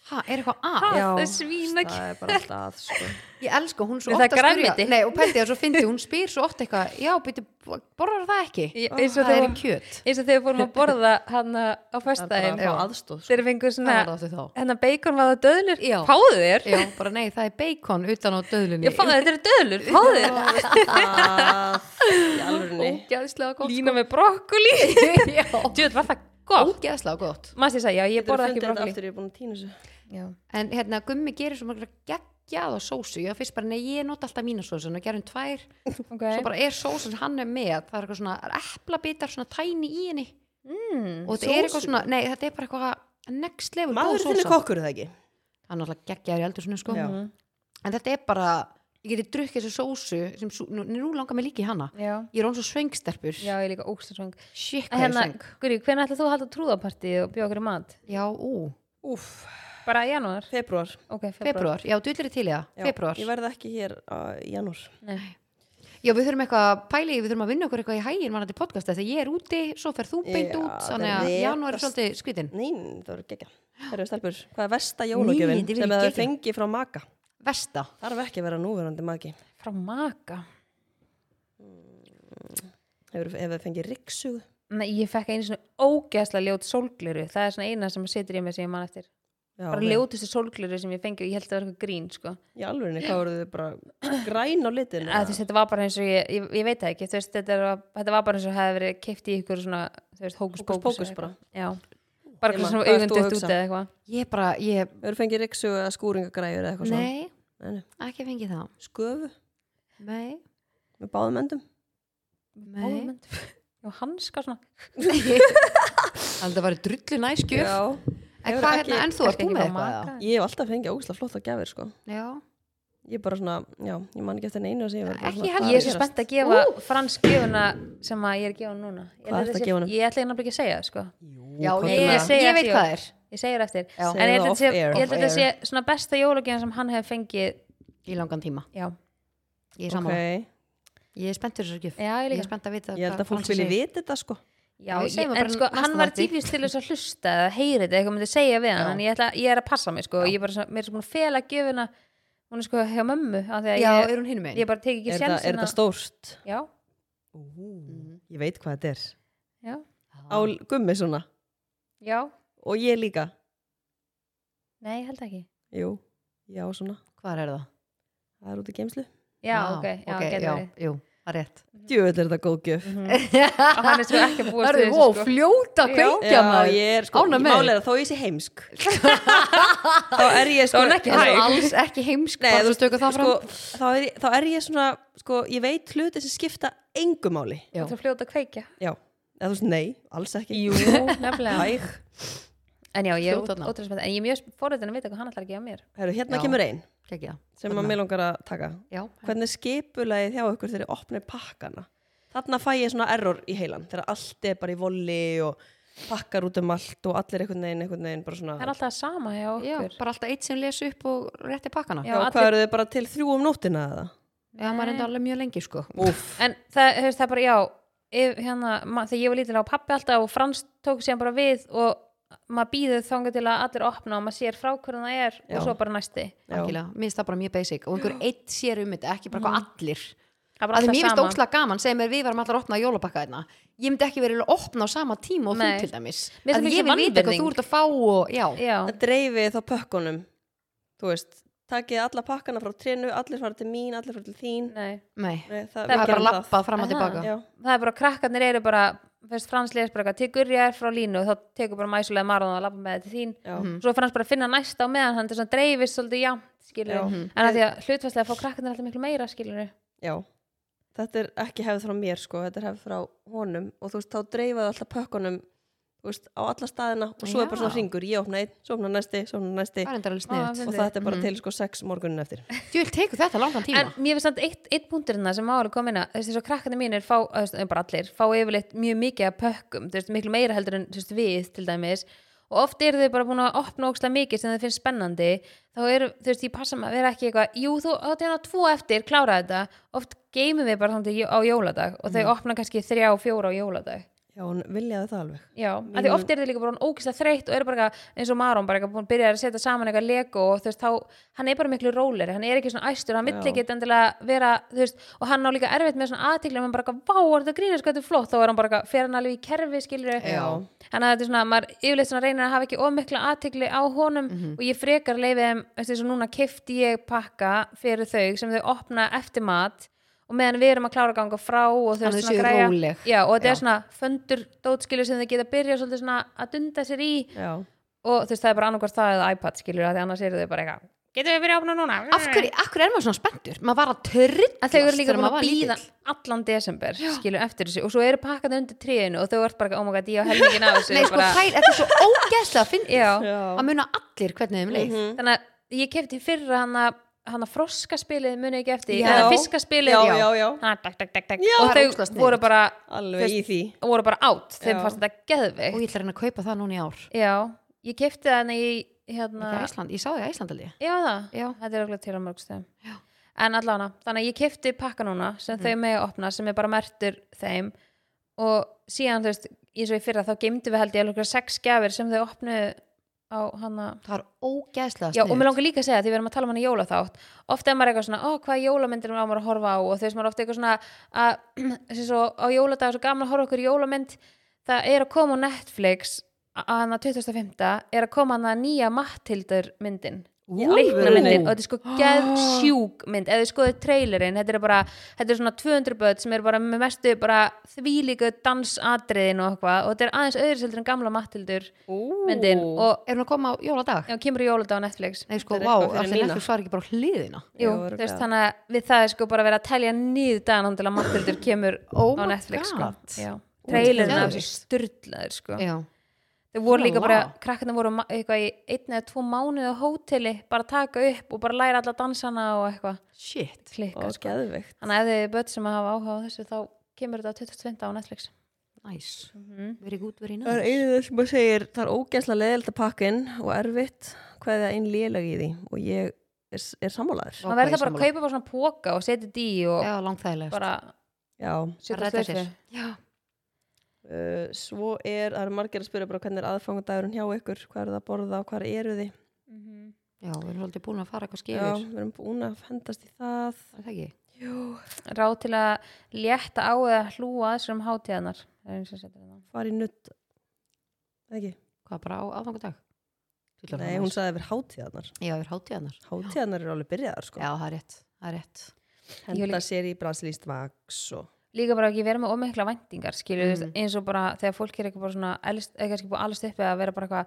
Speaker 2: Ha, er eitthvað að?
Speaker 1: Ha,
Speaker 3: Já,
Speaker 1: það er svínakjöt.
Speaker 3: Það er bara alltaf að sko.
Speaker 2: Ég elska, hún svo
Speaker 1: Nei, það
Speaker 2: ofta
Speaker 1: er grænmeti.
Speaker 2: Nei, og pældi það svo fyndi, hún spyr svo ofta eitthvað, já, byrju, borðar það ekki? Ah,
Speaker 1: Ég- eins og
Speaker 2: það er
Speaker 1: þegar-
Speaker 2: í kjöt.
Speaker 1: eins og þegar við fórum að borða hann á
Speaker 3: Það er
Speaker 1: föstudaginn
Speaker 3: bara að fá aðstóð sko.
Speaker 1: þegar við fengum
Speaker 2: Það
Speaker 1: svona
Speaker 2: var það áttu
Speaker 1: hennar
Speaker 2: þá.
Speaker 1: Hérna, bacon var það döðlur
Speaker 2: Já.
Speaker 1: fáðu þér
Speaker 2: Já, bara nei, það er beikon utan á döðlunni.
Speaker 1: ég fann þetta eru döðlur, fáðu þér
Speaker 3: Það, í alvörunni.
Speaker 2: Ógæðslega gott.
Speaker 1: lína með brokkoli
Speaker 2: Lína. já.
Speaker 1: djöð var það sko. gott
Speaker 2: Ógæðslega gott.
Speaker 1: maður sér að já ég
Speaker 3: Geturðu
Speaker 1: borða
Speaker 3: fundið
Speaker 1: ekki
Speaker 3: þetta
Speaker 1: brokkoli
Speaker 3: aftur, Ég er búin að týna þessu.
Speaker 1: Já.
Speaker 2: En hérna, gummi gerir svo mörgulega geggjað á sósu. Ég var fyrst bara, nei, ég nota alltaf mína sósun og gerum tvær. Svo
Speaker 1: ok
Speaker 2: bara er sósun hann er með, það er eitthvað svona eplabitar, svona tæni í henni.
Speaker 1: Mm.
Speaker 2: Og þetta er
Speaker 3: Sósu?
Speaker 2: eitthvað svona, nei, þetta er bara eitthvað next level góð
Speaker 3: Maður þinn er
Speaker 2: sósa.
Speaker 3: kokkur er það ekki?
Speaker 2: Hann er alltaf geggjaður í eldur sko.
Speaker 3: Já.
Speaker 1: Mhm.
Speaker 2: En þetta er bara, ég geti drukkið þessu sósu sem sú, nú, nú langar mig líka í hana.
Speaker 1: já
Speaker 2: Ég er án svo svengsterpur.
Speaker 1: já ég er líka ógstasvöng
Speaker 2: Shit, hvað
Speaker 1: hérna
Speaker 2: er sveng.
Speaker 1: Guri hvernig ætlaðu þú að halda trúðapartíð og bjóða okkur í mat
Speaker 2: Já, ú,
Speaker 3: Úf,
Speaker 1: bara í janúar
Speaker 3: februar.
Speaker 1: ok februar
Speaker 2: februar. Já, dullir til í það.
Speaker 3: Já,
Speaker 2: Februar.
Speaker 3: Ég verð ekki hér uh, í janúr.
Speaker 2: Já, við þurfum eitthvað að pæli, við þurfum að vinna okkur eitthvað í hægin varandi podcast þegar ég er úti, svo fer þú beint
Speaker 3: Já,
Speaker 2: út
Speaker 3: það
Speaker 2: þannig að
Speaker 3: er
Speaker 2: janúar er
Speaker 3: rekast-
Speaker 2: svolítið skvítin
Speaker 3: Nei, það voru geggja. Herru, stelpur, hvað er versta jólagjöfin
Speaker 2: Níundi, við
Speaker 3: sem
Speaker 2: erum
Speaker 3: það
Speaker 2: geggjað.
Speaker 3: fengi frá maka?
Speaker 2: Vesta,
Speaker 3: Þarf ekki að vera núverandi maki.
Speaker 1: frá maka
Speaker 3: Hefur það fengið riksugu?
Speaker 1: Nei, ég fekk einu svona ógeðslega ljót sólgliru það er svona eina sem situr í mig sem ég man eftir
Speaker 3: Já,
Speaker 1: bara
Speaker 3: vel.
Speaker 1: ljótustu sólgliru sem ég fengi og ég held að það var eitthvað grín sko.
Speaker 3: Í alvörinni, hvað voru þið bara græn á litinu?
Speaker 1: að, þú veist, þetta var bara eins og ég, ég, ég veit það ekki þú veist, þetta, var, þetta var bara eins og hefði verið keift í ykkur svona þú veist, hókus
Speaker 3: Hókus
Speaker 1: pókus
Speaker 3: pókus
Speaker 1: eða
Speaker 3: bara.
Speaker 1: eitthvað. Já. bara
Speaker 3: Emma,
Speaker 1: eitthvað svona
Speaker 3: hvað ert þú að
Speaker 1: augundögt út
Speaker 3: hugsa?
Speaker 1: eða eitthvað
Speaker 2: ég bara, ég,
Speaker 3: Hefur fengið riksugu eða skúringagræjur eða eitthvað svona?
Speaker 2: nei,
Speaker 3: Nei, nei.
Speaker 2: ekki fengið það
Speaker 3: Sköfu
Speaker 2: Nei,
Speaker 3: með báðum endum?
Speaker 2: nei
Speaker 1: Ómynd. og hanska svona
Speaker 2: Alltaf var drullu næskjöf
Speaker 3: Já.
Speaker 2: En
Speaker 3: hefur
Speaker 2: hvað
Speaker 3: ekki-
Speaker 2: hérna, en þú ert
Speaker 1: Kannski
Speaker 2: þú
Speaker 1: ekki
Speaker 2: með
Speaker 1: frá
Speaker 2: eitthvað
Speaker 1: maka.
Speaker 2: eða?
Speaker 3: Ég hef alltaf fengið ógæslega flott að gefir, sko.
Speaker 2: Já,
Speaker 3: Ég bara svona, já, ég man ekki eftir neina sem ég verið bara
Speaker 2: Ekki
Speaker 3: svona,
Speaker 2: heldur.
Speaker 3: hvað
Speaker 1: ég
Speaker 3: er
Speaker 1: er svo
Speaker 3: að
Speaker 1: spennt að gefa uh! fransk gefuna sem að ég er að gefa honum núna ég,
Speaker 3: Hvað
Speaker 1: ætla
Speaker 3: ertu að
Speaker 1: þessi-
Speaker 3: gefa honum?
Speaker 1: ég ætla einnig ekki að segja það, sko.
Speaker 2: já
Speaker 3: komdu
Speaker 2: ég,
Speaker 3: með
Speaker 2: ég,
Speaker 3: það.
Speaker 1: segi
Speaker 2: veit
Speaker 1: ekki-
Speaker 2: hvað er
Speaker 1: ég segir eftir
Speaker 2: Já.
Speaker 1: en ég held að
Speaker 3: Segðu
Speaker 1: þetta sé-
Speaker 3: það off air.
Speaker 1: ég held að þetta
Speaker 2: Off
Speaker 1: sé svona besta jólagjöfn sem hann hefði fengið
Speaker 2: Í langan tíma,
Speaker 1: já,
Speaker 2: ég er
Speaker 3: gera?
Speaker 2: saman
Speaker 3: Ok.
Speaker 2: Ég er spennt fyrir þessu gjöf
Speaker 1: já ég
Speaker 2: Ég
Speaker 1: líka
Speaker 2: er spennt að vita
Speaker 3: Ég held
Speaker 2: hvað
Speaker 3: að fólk
Speaker 2: Francis
Speaker 3: vilji
Speaker 2: segir.
Speaker 3: vita þetta, sko.
Speaker 1: Já,
Speaker 2: Já,
Speaker 1: ég,
Speaker 2: segjum
Speaker 1: en
Speaker 2: bara
Speaker 1: sko,
Speaker 2: næsta
Speaker 1: hann var
Speaker 2: þætti.
Speaker 1: típist til þess að hlusta eða heyri þetta, eitthvað myndi segja við hann
Speaker 2: Já.
Speaker 1: en ég, ætla, ég er að passa mig, sko,
Speaker 2: Já.
Speaker 1: ég er bara svona, mér er svona búin að fela gjöfuna hún er sko hjá mömmu, af því að
Speaker 2: Já,
Speaker 1: ég,
Speaker 2: er hún hinum einn?
Speaker 1: ég bara tek ekki
Speaker 3: Er það- er
Speaker 1: sjensina
Speaker 3: þetta stórt?
Speaker 1: Já,
Speaker 3: Ú,
Speaker 2: Mhm.
Speaker 3: ég veit hvað þetta er.
Speaker 1: já,
Speaker 3: Á gummi svona.
Speaker 1: já,
Speaker 3: Og ég líka.
Speaker 1: nei, ég held ekki
Speaker 3: Jú, já svona.
Speaker 2: Hvað er það? Ah,
Speaker 3: Það er út í geimslu.
Speaker 1: já, ok, já, okay, getur
Speaker 2: já,
Speaker 1: verið
Speaker 2: Jú, það er rétt
Speaker 1: Mhm.
Speaker 3: Djöfull er þetta góð gjöf.
Speaker 1: og hann er svo ekki að búast
Speaker 2: Það er
Speaker 1: við
Speaker 2: ó,
Speaker 1: þessu, sko.
Speaker 2: fljóta kveikja maður
Speaker 3: ég er sko,
Speaker 2: Ánægð
Speaker 3: ég
Speaker 2: með
Speaker 3: málega þó ég sé heimsk. þá er ég sko,
Speaker 1: Þá er hún ekki
Speaker 2: Það er
Speaker 1: Hæ.
Speaker 2: alls ekki heimsk
Speaker 3: Nei,
Speaker 2: bara
Speaker 3: þú
Speaker 2: svo stöku það
Speaker 3: sko, þá, er, ég- þá er ég svona, sko, ég veit hluti sem skipta engu máli.
Speaker 2: já.
Speaker 1: Þú ert að fljóta að kveikja
Speaker 3: Já, eða þú veist, nei, alls ekki.
Speaker 1: Jú, nefnilega
Speaker 3: Hæg.
Speaker 1: En já, ég er
Speaker 2: Fljóta
Speaker 1: ótrúlega
Speaker 2: þarna.
Speaker 1: spennt En ég er mjög forröðin að vita hvað hann ætlar að gefa mér
Speaker 3: Herru, hérna
Speaker 2: Já.
Speaker 3: kemur einn
Speaker 2: fram Kekja
Speaker 3: sem að
Speaker 2: Þarna.
Speaker 3: mér langar að taka.
Speaker 2: Já,
Speaker 3: Hvernig skipulagið þjá ykkur þegar þið opnið pakkana? Þarna fæ ég svona error í heilan þegar allt er bara í voli og pakkar út um allt og allir einhvern veginn, einhvern veginn bara svona
Speaker 1: Það er alltaf sama hjá
Speaker 2: já,
Speaker 1: okkur
Speaker 2: bara alltaf eitt sem lesi upp og rétti pakkana
Speaker 1: Já.
Speaker 2: Já,
Speaker 3: Já,
Speaker 1: allir-
Speaker 3: hvað eru þið bara til þrjú um nóttina eða?
Speaker 2: maður er enda alveg mjög lengi sko
Speaker 3: Úf,
Speaker 1: En það, hefur, það er bara, já ef, hérna, ma, Þegar ég var lítilega á pappi alltaf og Frans tók sér bara við og maður býður þangað til að allir opna og maður sér frá hvernig það er
Speaker 3: Já.
Speaker 1: og svo bara næsti
Speaker 3: já,
Speaker 2: Algjörlega, Mér finnst það bara mjög basic og einhver eitt sér um þetta, ekki bara hvað
Speaker 1: Mhm.
Speaker 2: allir
Speaker 1: Það er bara
Speaker 2: að því
Speaker 1: alltaf
Speaker 2: mér finnst
Speaker 1: sama.
Speaker 2: ókslega gaman, segir mér við varum allar að opna jólabakka þarna, ég myndi ekki verið að opna á sama tíma og þú
Speaker 1: Nei.
Speaker 2: til dæmis
Speaker 1: Mér finnst
Speaker 2: að
Speaker 1: það
Speaker 2: ég
Speaker 1: mikil
Speaker 2: vil vita hvað
Speaker 1: vanvirðing.
Speaker 2: þú ert að fá og já,
Speaker 1: Já,
Speaker 3: það dreifið þá pökkunum þú veist, takið alla pakkana frá trénu, allir fara til mín, allir fara til þín
Speaker 1: nei
Speaker 2: nei,
Speaker 3: Nei, það,
Speaker 2: það er bara
Speaker 3: gerum
Speaker 2: að lappa fram og
Speaker 1: Aha.
Speaker 2: tilbaka
Speaker 3: Já,
Speaker 1: það er bara krakkarnir eru bara fyrst Frans les bara eitthvað, tegur ég er frá línu og þá tekur bara mæsulega marðan og lappa með þetta til þín
Speaker 3: já,
Speaker 2: Mm.
Speaker 1: svo Frans bara að finna næsta á meðan þannig að það dreifist svolítið jafnt skilur
Speaker 3: já,
Speaker 1: en að því að hlutfærslega fá krakkarnir alltaf miklu meira skilur
Speaker 3: já Þetta er ekki hefð frá mér sko, þetta er hefð frá honum og þú veist, þá dreifaðu alltaf pökkunum þú veist, á alla staðina og svo er bara
Speaker 2: Já.
Speaker 3: svona hringur, ég opna einn, svo opna næsti, svo opna næsti
Speaker 2: það er enda alveg
Speaker 1: Ah,
Speaker 2: sniðt
Speaker 1: fyndið.
Speaker 3: og þetta er bara til sko sex morgunin eftir
Speaker 2: Þú vil teku þetta langan tíma
Speaker 1: en mér finnst samt eitt, eitt punkturinn sem máli kom inn að þú veist, þess að krakkarnir mínir fá, þú veist, bara allir, fá yfirleitt mjög mikið að pökkum, þú veist, miklu meira heldur en þú veist, við til dæmis og oft eru þau bara búin að opna ókslega mikið sem þau finnst spennandi þá eru, þú veist, ég passa maður að vera ekki eitthvað jú, þú, þá er hann tvo eftir, klára þetta oft geymum við bara þannig á jóladag og þau opna kannski þrjá, fjóra á jóladag
Speaker 3: Já, hún viljaði það alveg
Speaker 1: Já, af því oft er þið líka bara ógislega þreytt og eru bara eitthvað, eins og Maron bara eitthvað byrjar að setja saman eitthvað lego og þú veist þá, hann er bara miklu róleri, hann er ekki svona æstur, hann vill
Speaker 3: Já.
Speaker 1: ekki endilega vera, þú veist, og hann á líka erfitt með svona aðtikli, hann bara eitthvað, vá, er þetta grínast hvað þetta er flott, þá er hann bara eitthvað, fer hann alveg í kerfi skilur, þannig að þetta er svona, maður yfirleitt svona reynir að hafa ekki ómikla aðtikli á honum og ég frekar leiði þeim, veist þess að núna kefti ég pakka fyrir þau sem þau opna eftir mat og meðan við erum að klára að ganga frá og þau
Speaker 2: Þannig
Speaker 1: svona
Speaker 2: þau séu
Speaker 1: græja
Speaker 2: róleg.
Speaker 1: já, og þetta
Speaker 2: Já.
Speaker 1: er svona föndur dótskilur sem þau geta byrjað svolítið svona að dunda sér í
Speaker 3: Já,
Speaker 1: og þú veist það er bara annarkvært það eða iPad skilur að því annars eru þau bara eitthvað getum við byrjað að opna núna
Speaker 2: af hverju, af hverju er maður svona spenntur maður var að törrillast
Speaker 1: en þau eru líka
Speaker 2: þegar
Speaker 1: búin
Speaker 2: maður
Speaker 1: að
Speaker 2: var
Speaker 1: býða
Speaker 2: lítill.
Speaker 1: allan desember skilur eftir þessu og svo eru pakkandi undir tríðinu og þau ert bara oh my god ég á helmingin af þessu
Speaker 2: nei sko
Speaker 1: bara,
Speaker 2: þær, þetta er svo ógeðslega að finna
Speaker 1: já, Mhm.
Speaker 3: já,
Speaker 2: að muna allir hvernig þeim leið
Speaker 3: Mhm.
Speaker 1: þannig að ég kefti fyrra hann að hann að froskaspilið muni ekki eftir
Speaker 2: Já.
Speaker 1: eða fiskaspilið
Speaker 3: já, já, já.
Speaker 1: Ha, dak, dak, dak, dak.
Speaker 3: Já.
Speaker 1: og
Speaker 2: Það er ógeðslega
Speaker 1: þau
Speaker 2: sniðugt.
Speaker 1: voru bara
Speaker 3: alveg í því
Speaker 1: voru bara átt, þeim
Speaker 3: Já.
Speaker 1: fannst þetta
Speaker 2: og
Speaker 1: geðveikt
Speaker 2: ég ætla að reyna að kaupa það núna í ár
Speaker 1: já, ég kefti það en ég hérna,
Speaker 2: ekki Æsland, ég sá því Æsland aldrei
Speaker 1: já það,
Speaker 2: já,
Speaker 1: þetta er okkur til að mörgstum en allána, þannig að ég kefti pakka núna sem
Speaker 2: Mhm.
Speaker 1: þau megi opna, sem er bara mertur þeim og síðan þú veist eins og í fyrra þá geymdu við held ég alveg sex gjafir sem þau opnu á hana
Speaker 2: það er ógeðslega
Speaker 1: Já, og mér
Speaker 2: sniðugt.
Speaker 1: langar líka að segja, því við erum að tala um hann í jólaþátt ofta er maður eitthvað svona, ó, hvaða jólamyndir er maður að horfa á og þess maður er ofta eitthvað svona að, sem svo á jóladag er svo gaman að horfa okkur í jólamynd, það er að koma á Netflix, að hann að 2005 er að koma hann að nýja Mattildur myndin,
Speaker 3: Í
Speaker 1: leiknamyndin
Speaker 3: alvörunni?
Speaker 1: og þetta er sko geðsjúk mynd eða þið skoðu trailerinn, þetta er bara þetta er svona 200 börn sem eru bara með mestu bara þvílíku dansatriðin og, eitthvað, og þetta er aðeins öðriseldur en gamla Mattildur myndin og
Speaker 2: er hún að koma á jóladag?
Speaker 1: Já, kemur í jóladag á Netflix
Speaker 2: nei sko,
Speaker 3: Þetta er
Speaker 2: vá,
Speaker 3: eitthvað fyrir
Speaker 2: allir
Speaker 3: Nína.
Speaker 2: Netflix var ekki bara á hliðina
Speaker 1: Jú, þú
Speaker 3: Jú,
Speaker 1: veist,
Speaker 3: örugglega.
Speaker 1: þannig að við það er sko bara að vera að telja nýð dagan hann til að Mattildur kemur
Speaker 2: Oh
Speaker 1: á
Speaker 2: my
Speaker 1: Netflix sko.
Speaker 2: God.
Speaker 1: Já, trailerin
Speaker 2: geðveikt.
Speaker 1: af þessu styrlaður sko.
Speaker 2: já,
Speaker 1: Þau voru
Speaker 2: svona
Speaker 1: líka bara,
Speaker 2: lag.
Speaker 1: krakkarnir voru ma- eitthvað í einn eða tvo mánuði á hóteli bara að taka upp og bara læra alla dansana og eitthvað
Speaker 2: shit
Speaker 1: klikka
Speaker 3: og
Speaker 1: sko.
Speaker 3: geðveikt
Speaker 1: Þannig að ef þið er börn sem hafa áhuga á þessu þá kemur þetta 2020 á Netflix
Speaker 2: nice,
Speaker 1: Mhm.
Speaker 2: verið gút, verið
Speaker 3: Það
Speaker 2: næ
Speaker 3: er einu sem maður segir, það er ógæslega leðilt að pakka inn og erfitt hvað það einn lélag í því og ég er, er sammálaður.
Speaker 2: Vá.
Speaker 1: Man
Speaker 2: hvað
Speaker 1: verður það
Speaker 2: ég
Speaker 1: bara að
Speaker 2: sammála.
Speaker 1: kaupa bara svona póka og setja þetta í og
Speaker 2: já, langþægilegast
Speaker 1: bara
Speaker 3: Já,
Speaker 1: setja
Speaker 2: Bara redda
Speaker 1: slaufu.
Speaker 2: sér. já,
Speaker 3: uh, svo er, það eru margir að spyrja bara hvernig er aðfangadagurinn hjá ykkur, hvað er það að borða og hvað eru þið?
Speaker 1: Mhm.
Speaker 2: já, við erum svolítið búin að fara eitthvað
Speaker 3: Já,
Speaker 2: skifir
Speaker 3: við erum búin að hendast í það.
Speaker 2: það er það ekki
Speaker 1: ráð til að létta á eða hlúa að sérum hátíðanar það er eins og setur hérna
Speaker 3: Fari nutt Ekki?
Speaker 2: Hvað bara á aðfangudag?
Speaker 3: Nei, hún sagði yfir hátíðarnar
Speaker 2: Já, yfir hátíðanar.
Speaker 3: Hátíðarnar eru alveg byrjaðar sko
Speaker 2: Já, það er rétt. Það er rétt.
Speaker 1: Ég vil
Speaker 3: Henda sér í brasilíst vaks og
Speaker 1: líka bara ekki vera með ómikla væntingar skilur, mm.
Speaker 2: Mm.
Speaker 1: eins og bara þegar fólk er ekki bara svona elst, ekki kannski búið allast uppi að vera bara eitthvað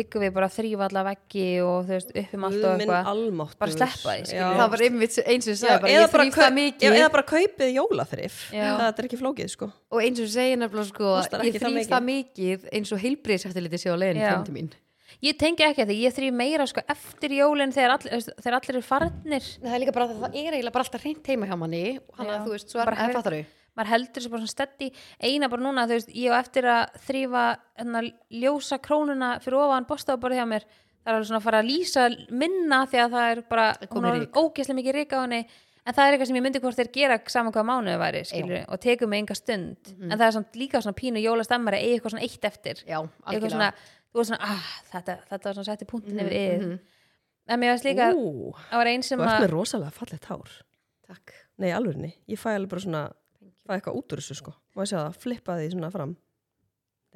Speaker 1: líka við bara að þrýfa alla veggi og þú veist upp um allt og
Speaker 3: Guðminn
Speaker 1: eitthvað
Speaker 3: almáttur
Speaker 1: Bara sleppa því, skilur.
Speaker 2: Það var einmitt eins og
Speaker 3: Já,
Speaker 2: segja bara, ég
Speaker 3: eða, bara
Speaker 2: þrýf
Speaker 3: kaup,
Speaker 2: það
Speaker 3: já,
Speaker 2: mikið
Speaker 3: eða bara kaupið jólaþrif
Speaker 1: Já.
Speaker 3: það er ekki flókið sko
Speaker 2: og eins og segja nefnilega sko,
Speaker 3: Kostar
Speaker 2: ég
Speaker 3: ekki það
Speaker 2: þrýf
Speaker 3: mikið.
Speaker 2: það mikið eins og heilbriðseftiliti sé á leiðin
Speaker 1: Já.
Speaker 2: framti mín.
Speaker 1: ég tengi ekki að því, ég þrýf meira sko eftir jólin þegar, all, þegar allir eru farnir
Speaker 2: Nei, Það er líka bara að það er eiginlega bara alltaf reynd heima hjá manni og hann
Speaker 1: Já.
Speaker 2: að þú veist, svo er
Speaker 1: Bara
Speaker 2: það
Speaker 1: hef-
Speaker 2: fattar þau.
Speaker 1: maður heldur þessu bara svona steddi eina bara núna, þú veist, ég á eftir að þrýfa hérna, ljósa krónuna fyrir ofan bostaðaborð hjá mér það er alveg svona að fara að lýsa minna því að það er bara, hún
Speaker 2: Komið
Speaker 1: er
Speaker 2: ryk.
Speaker 1: ógeðslega mikið rík á henni en það er eitthvað sem ég myndi hvort þeir gera saman hvað mánuðu væri, skilur, og tekum mig enga stund en það er samt líka svona pínu jólastemmar að eiga eitthvað svona eitt eftir
Speaker 2: Já,
Speaker 1: eitthvað
Speaker 2: algjörlega.
Speaker 1: svona,
Speaker 2: Mhm,
Speaker 1: þú veist svona, ah, þetta, þetta var svona setti punktin yfir yfir en mér varst líka,
Speaker 3: Ú,
Speaker 1: það var einn sem
Speaker 3: þú ert með
Speaker 1: að
Speaker 3: rosalega fallegt hár
Speaker 2: Takk.
Speaker 3: nei, alveg nei, ég fæ alveg bara svona fæ eitthvað út úr þessu sko má ég sjá það, flippa því svona fram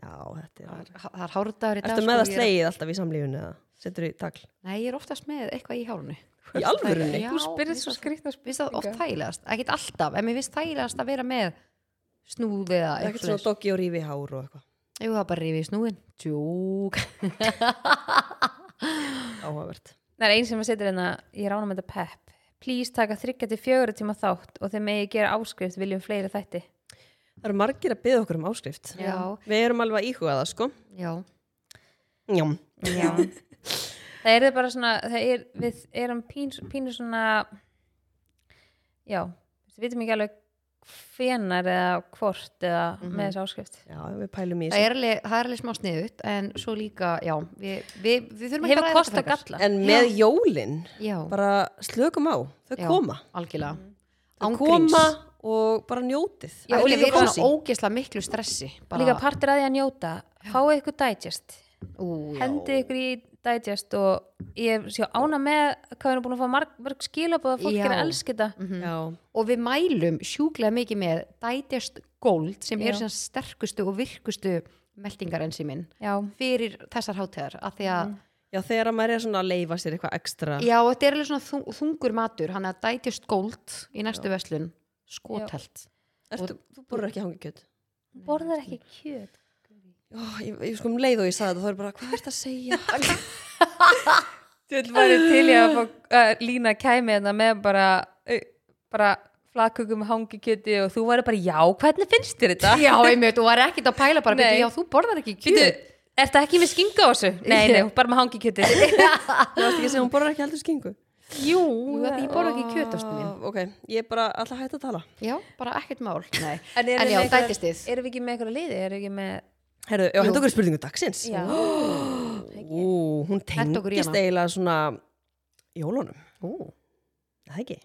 Speaker 3: já, þetta er
Speaker 2: Það er- það er hárdagur í dag.
Speaker 3: Ertu
Speaker 2: sko,
Speaker 3: með það
Speaker 2: ég er-
Speaker 3: slegið alltaf í samlífun eða setur í tagl?
Speaker 2: Nei, ég er oftast með eitthvað í hárunu.
Speaker 3: Í alvörunni?
Speaker 2: Já,
Speaker 1: þú spyrir
Speaker 2: mér
Speaker 1: svo
Speaker 2: finnst-
Speaker 1: skrýtna
Speaker 2: Mér finnst það oft
Speaker 1: spurningar.
Speaker 2: þægilegast, ekkert alltaf, en mér finnst þægilegast að vera með snúð eða
Speaker 3: Það er ekkert
Speaker 2: eitthvað.
Speaker 3: svona doggi og rífi hár og eitthvað
Speaker 2: Jú, það er bara rífið í snúðin. Tjúk.
Speaker 3: áhugavert.
Speaker 1: Það er einn sem að setja hérna, ég rána með þetta pep. Please taka 3-4 tíma þátt og þeir megi gera áskrift viljum fleiri þætti.
Speaker 3: Það eru margir að byggja okkur um áskrift.
Speaker 2: Já,
Speaker 3: Við erum alveg að íhuga það sko.
Speaker 2: já.
Speaker 3: Já.
Speaker 1: Já. það er bara svona, það er, við erum pínu, pínu svona, já, við veitum ekki alveg hvenar eða hvort eða
Speaker 2: Mhm.
Speaker 1: með þessu áskrift.
Speaker 3: Já, við pælum í
Speaker 2: Það
Speaker 3: þessu.
Speaker 2: er alveg, það er alveg smá sniðut, en svo líka, já, við, við, við þurfum
Speaker 1: Hefur
Speaker 2: ræða
Speaker 1: kost
Speaker 2: þetta
Speaker 1: og
Speaker 2: frekar.
Speaker 1: galla.
Speaker 3: En með jólin,
Speaker 2: Já,
Speaker 3: bara slökum á, þau
Speaker 2: Já.
Speaker 3: koma.
Speaker 2: algjörlega.
Speaker 3: Þau
Speaker 2: Ángríns.
Speaker 3: koma og bara njótið.
Speaker 2: Já,
Speaker 1: og
Speaker 2: og
Speaker 1: líka
Speaker 2: við erum
Speaker 1: kósí.
Speaker 2: svona ógeðslega miklu stressi. Bara,
Speaker 1: Líka partur að því að njóta, fáið ykkur digest,
Speaker 2: ú, já.
Speaker 1: hendið ykkur í digest og ég sé ána með hvað við erum búin að fá marg, marg skilabóð að fólk
Speaker 2: Já.
Speaker 1: er að elska þetta.
Speaker 3: Já.
Speaker 2: og við mælum sjúklega mikið með Digest Gold sem
Speaker 1: Já.
Speaker 2: eru síðan sterkustu og virkustu meldingar enn síminn
Speaker 1: Já.
Speaker 2: fyrir þessar hátíðar af því að,
Speaker 3: Já, þegar maður er svona að leifa sér eitthvað ekstra.
Speaker 2: já, þetta er alveg svona þung, þungur matur, hann að Digest Gold í næstu já. veslun, skotelt
Speaker 3: Ertu, þú borður ekki hangið kjöt.
Speaker 1: borðar ekki kjöt
Speaker 3: Ó, ég, ég sko um leið og ég sagði þetta, þá er bara, hvað ert að segja? Þú vil bara
Speaker 1: til ég að fá uh, Lína kæmi hérna með bara uh, bara flatkökum hangi kjöti og þú væri bara já, hvernig finnst þér þetta?
Speaker 2: Já, einmitt, og var ekkert að pæla bara,
Speaker 1: Nei.
Speaker 2: beti, já, þú borðar ekki
Speaker 1: Býtu,
Speaker 2: kjöt
Speaker 1: er það ekki með skinga á þessu? Nei, nei, bara með hangi kjöti
Speaker 3: Þú varst ekki að segja, hún borður ekki heldur skingu.
Speaker 1: Jú,
Speaker 2: Jú, af því ég borða ekki kjöt ástu mín
Speaker 3: Ah, Ok, ég er bara alltaf hægt að tala.
Speaker 2: Já, bara ekkert mál Nei.
Speaker 1: En, erum við
Speaker 2: En, já,
Speaker 1: með einhverjar-
Speaker 2: dætistið
Speaker 1: Erum við ekki með eitthvað liði? Erum við ekki með
Speaker 3: Herðu, já, hendur okkur í spurningu dagsins.
Speaker 1: Já,
Speaker 3: Ú, hún
Speaker 2: Hentu okkur í
Speaker 3: tengist
Speaker 2: hana.
Speaker 3: eiginlega svona jólunum,
Speaker 2: Ú,
Speaker 3: er það ekki?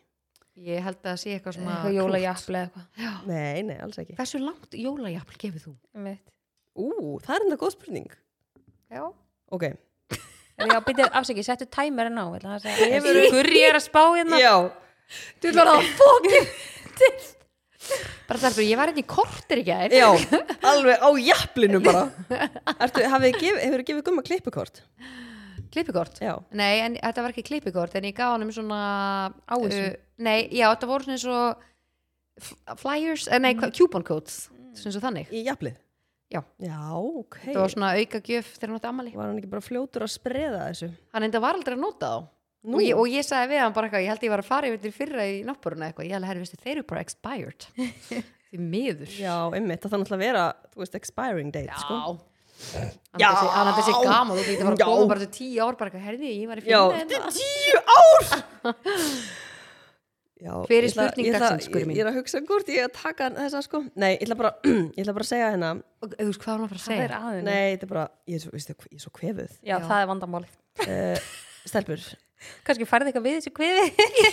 Speaker 2: Ég held að það sé eitthvað svona
Speaker 1: eitthvað jólajafl eða eitthvað
Speaker 3: Nei, nei, alls ekki.
Speaker 2: Eh, Hversu langt jólajafl gefur þú?
Speaker 1: Einmitt.
Speaker 3: Ú, það er enda góð spurning.
Speaker 2: Já
Speaker 3: Ok,
Speaker 1: En Já, byrja afsaki, settu tæmerinn á Gurri er að spá hérna
Speaker 3: já,
Speaker 2: Þú ætlar að fókið Bara þarf ég var hérna í kortir í gær
Speaker 3: já, alveg á jaflinu bara. Ertu, hafið gef, hefur gefið gumma klippukort?
Speaker 2: Klippikort?
Speaker 3: Já.
Speaker 2: Nei, en þetta var ekki klippikort en ég gaf honum svona
Speaker 1: Ávísun.
Speaker 2: uh, Nei, já, þetta voru svona svo f- flyers, eh, nei, mm. coupon codes svona svo þannig
Speaker 3: Í jaflið?
Speaker 2: Já.
Speaker 3: Já, ok.
Speaker 2: Þetta var svona auka gjöf þegar hann átti ammali
Speaker 3: Var hann ekki bara fljótur að spreða þessu?
Speaker 2: Hann enda var aldrei að nota þá
Speaker 3: Nú.
Speaker 2: og ég, og ég sagði við hann bara eitthvað, ég held ég var að fara yfir til fyrra í náttbúruna eitthvað, ég held að herri, veistu, þeir eru bara expired Því miður
Speaker 3: Já, einmitt, það þarf náttúrulega að vera, þú veist, expiring date, sko.
Speaker 2: Já Hann hætti sér
Speaker 3: Já.
Speaker 2: gaman, þú getur að
Speaker 3: Já.
Speaker 2: fara góð bara til tíu ár bara eitthvað, herði, ég var í
Speaker 3: Já,
Speaker 2: fyrra
Speaker 3: þetta er tíu ár! Já,
Speaker 2: Hver er
Speaker 3: ég ætla-
Speaker 2: spurning
Speaker 3: ég ætla-
Speaker 2: dagsins, Gurrí
Speaker 3: ég-
Speaker 2: mín?
Speaker 3: Ég er að hugsa hvort ég er að taka þessa sko Nei, ég ætla bara, ég ætla bara að segja hérna
Speaker 2: Og þú veist hvað hann var að fara að
Speaker 1: Það er
Speaker 2: segja?
Speaker 1: aðeins
Speaker 3: Nei, þetta er bara, ég er svo, veistu, ég er svo kvefuð
Speaker 1: Já,
Speaker 2: Já.
Speaker 1: það er vandamálið
Speaker 3: uh, Stelpur
Speaker 1: Kannski færði eitthvað við þessu kviði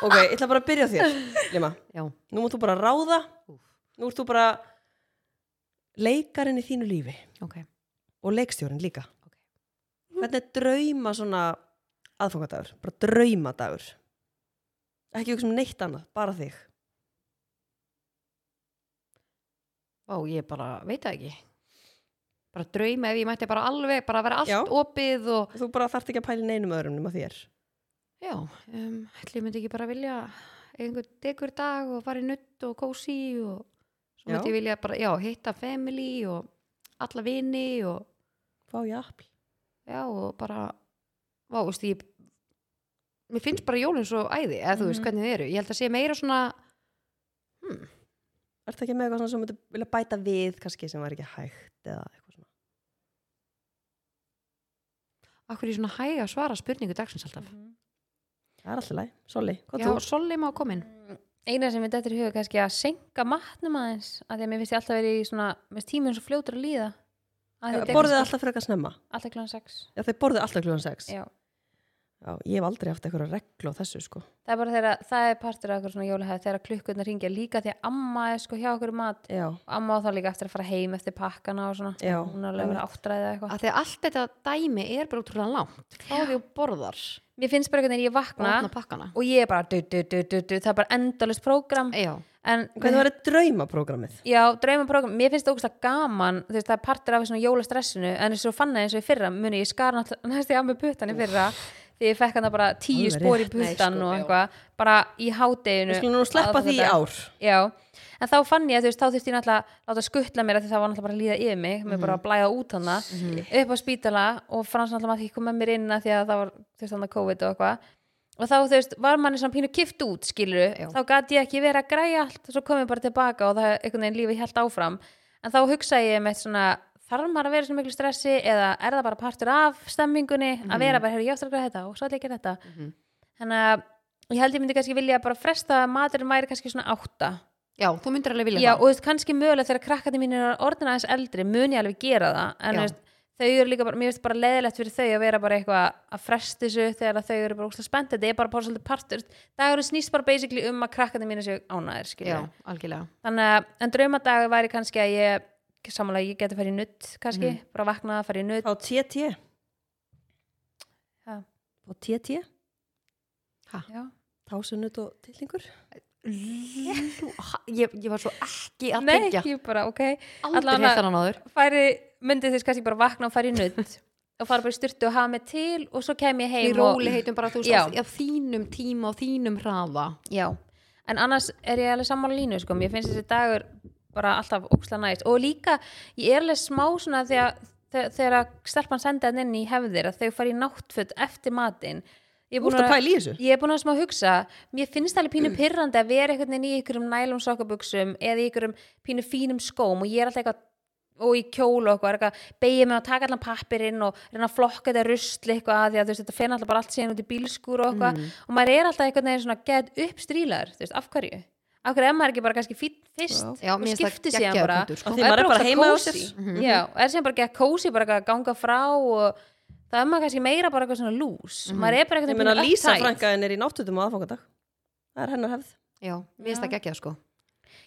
Speaker 3: Ok, ég ætla bara að byrja á þér, Lima
Speaker 2: Já,
Speaker 3: Nú mátt þú bara ráða Nú ert þú bara leikarinn í þínu lífi
Speaker 2: ok.
Speaker 3: og leikstjórinn líka
Speaker 2: Ok.
Speaker 3: Hvernig er drauma svona aðfangadagur, bara draumadagur Ekki hugsa um neitt annað, bara þig.
Speaker 2: Vá, ég bara veit það ekki bara drauma ef ég mætti bara alveg bara vera allt
Speaker 3: Já.
Speaker 2: opið og
Speaker 3: Þú bara þarft ekki að pæla í neinum öðrum nema þér.
Speaker 2: já, um, ætli ég myndi ekki bara vilja einhver degur dag og fara í nutt og kósi og svo
Speaker 3: Já.
Speaker 2: myndi ég vilja bara, já, hitta family og alla vini og
Speaker 3: Fá jafn.
Speaker 2: já, og bara vá, veist, ég mér finnst bara jólinn svo æði, eða þú veist
Speaker 1: Mhm.
Speaker 2: hvernig þið eru ég held að sé meira svona
Speaker 3: Er það ekki með eitthvað svona sem myndi vilja bæta við kannski sem var ekki hægt eða eitthvað svona?
Speaker 2: akkur ég svona hæg að svara spurningu dagsins alltaf
Speaker 1: Mhm.
Speaker 3: Það er alltaf læg. Soli, hvað
Speaker 2: já,
Speaker 3: þú?
Speaker 2: Solli má komin
Speaker 1: eina sem við dættir í huga kannski að senka matnum aðeins að því að mér finnst ég alltaf verið í svona mér finnst tíminn svo fljótur að líða að
Speaker 3: Já,
Speaker 1: þetta er
Speaker 3: eh, Borðið
Speaker 1: kannski-
Speaker 3: alltaf frekar snemma.
Speaker 1: alltaf kláðan 6
Speaker 3: Já, þeir borðið alltaf kljóðan 6.
Speaker 1: Já.
Speaker 3: Já, ég hef aldrei haft eitthvað reglu á þessu, sko.
Speaker 1: það er bara þegar það er partur af eitthvað svona jólahæð þegar klukkurnar ringja líka því að amma er sko hjá okkur í mat
Speaker 3: Já,
Speaker 1: amma á þá líka eftir að fara heim eftir pakkana og svona
Speaker 3: já.
Speaker 1: hún er alveg að vera áttræðið eitthvað
Speaker 2: að því að allt þetta dæmi er bara útrúlega langt þá því og borðar
Speaker 1: mér finnst bara hvernig ég
Speaker 2: og
Speaker 1: vakna
Speaker 2: opna pakkana
Speaker 1: og ég er bara du, du, du, du, du, það er bara endalist prógram
Speaker 2: já,
Speaker 1: en
Speaker 3: Hvernig var þetta draumaprógrammið?
Speaker 1: Já, draumaprógram, mér finnst það ógustlega gaman þú veist, það er partur af svona jólastressinu en þess að fann það eins og í fyrra, muni ég skar nátt- næst í að með puttan í fyrra því ég fekk hann það bara tíu
Speaker 3: Alveg
Speaker 1: spór í
Speaker 3: rétt.
Speaker 2: Nei,
Speaker 1: puttan
Speaker 2: sko,
Speaker 1: og
Speaker 2: já.
Speaker 1: eitthvað bara í hádeginu
Speaker 3: Við skulum nú sleppa því í
Speaker 1: aðfangadag.
Speaker 3: ár.
Speaker 1: Já, en þá fann ég að þú veist, þá þurfti ég náttúrulega að láta skuttla mér af því það var náttúrulega bara að líða yfir mig, mér bara að blæða út hana upp á spítala og frans náttúrulega maður því koma með mér inn að því að það var þú veist þannig COVID og eitthvað og þá þú veist, var manni svona pínu kift út skilur,
Speaker 2: Já.
Speaker 1: þá gat ég ekki verið að græja allt og svo kom ég bara tilbaka og það einhvern veginn lífið helt áfram, en þá hugsaði ég með svona, þarf maður að vera í svona miklu stressi eða er það bara partur af stemmingunni að vera bara, herri, ég ástæður að gera þetta og svo ætla ég að gera þetta þannig að ég held ég myndi kannski vilja bara fresta að maturinn væri kannski svona átta
Speaker 2: já, þú myndir alveg vilja
Speaker 1: Já,
Speaker 2: það
Speaker 1: og þú veist, kannski mögulega þegar krakkandi mín er orðin aðeins eldri, mun ég alveg gera það en
Speaker 2: Já.
Speaker 1: þú veist, þau eru líka bara, mér finnst bara leðilegt fyrir þau að vera bara eitthvað að fresta þessu þegar að þau eru bara úrslega spennt þetta er bara bara svolítið partur, dagurinn snýst bara basically um að krakkandi mín er sér ánæðir
Speaker 2: já,
Speaker 1: skilja.
Speaker 2: algjörlega
Speaker 1: þannig að, en draumadagur væri kannski að ég, samanlega ég geti farið í nutt kannski,
Speaker 2: Mhm.
Speaker 1: bara vakna að farið í nutt
Speaker 3: Fá TT.
Speaker 1: Ha.
Speaker 3: Fá TT.
Speaker 1: Já,
Speaker 3: Tásunut og tilningur.
Speaker 2: Lú, ha- ég, ég var svo ekki að
Speaker 1: nei,
Speaker 2: tengja
Speaker 1: ég bara, ok
Speaker 2: aldrei
Speaker 1: allavega-
Speaker 2: hefði þannan áður
Speaker 1: færi, myndi þess kannski bara vakna og færi í nutt og fara bara í styrtu og hafa mig til og svo kem ég
Speaker 2: í
Speaker 1: heim og-
Speaker 2: róli heitum bara þú
Speaker 1: Já.
Speaker 2: veist á- á þínum tíma og þínum hraða
Speaker 1: Já, en annars er ég alveg sammála línu sko, mér finnst þessi dagur bara alltaf óksla næst og líka ég er alveg smá svona þegar þe- þegar að stelpan sendi hann inn í hefðir að þau fari í náttföt eftir matinn ég er
Speaker 3: Þú
Speaker 1: búin
Speaker 3: ert að
Speaker 1: að,
Speaker 3: pæla í þessu?
Speaker 1: ég er búin að smá hugsa mér finnst alveg pínu pyrrandi að vera einhvern veginn í ykkurum nælum sokkabuxum eða í ykkurum pínu fínum skóm og ég er alltaf eitthvað og í kjól og eitthvað, er eitthvað beigja mig að taka allan pappirinn og reyna að flokka þetta rusli eitthvað að því að þú veist, þetta fer alltaf bara allt síðan út í bílskúr og eitthvað
Speaker 3: Mm.
Speaker 1: og maður er alltaf einhvern veginn svona get upp strílar, þú veist, af hverju af hverju er maður ekki bara kannski fýtt fyrst
Speaker 2: Já,
Speaker 1: og
Speaker 2: mér finnst það
Speaker 1: skipti síðan
Speaker 2: geggjaður
Speaker 1: bara
Speaker 2: punktur,
Speaker 1: og
Speaker 2: sko.
Speaker 3: Af því
Speaker 1: er
Speaker 3: maður er bara
Speaker 1: ógeðslega
Speaker 3: heima hjá
Speaker 1: kósí.
Speaker 3: sér.
Speaker 1: já, og er síðan bara ekki að kósi bara eitthvað að ganga frá og það er maður kannski meira bara eitthvað svona lús maður er bara
Speaker 3: Ég
Speaker 1: eitthvað
Speaker 3: meina Lísa frænkaðin er í náttutum á aðfangadag. Það er hennar hefð.
Speaker 2: já, mér finnst
Speaker 1: Já.
Speaker 2: það ekki sko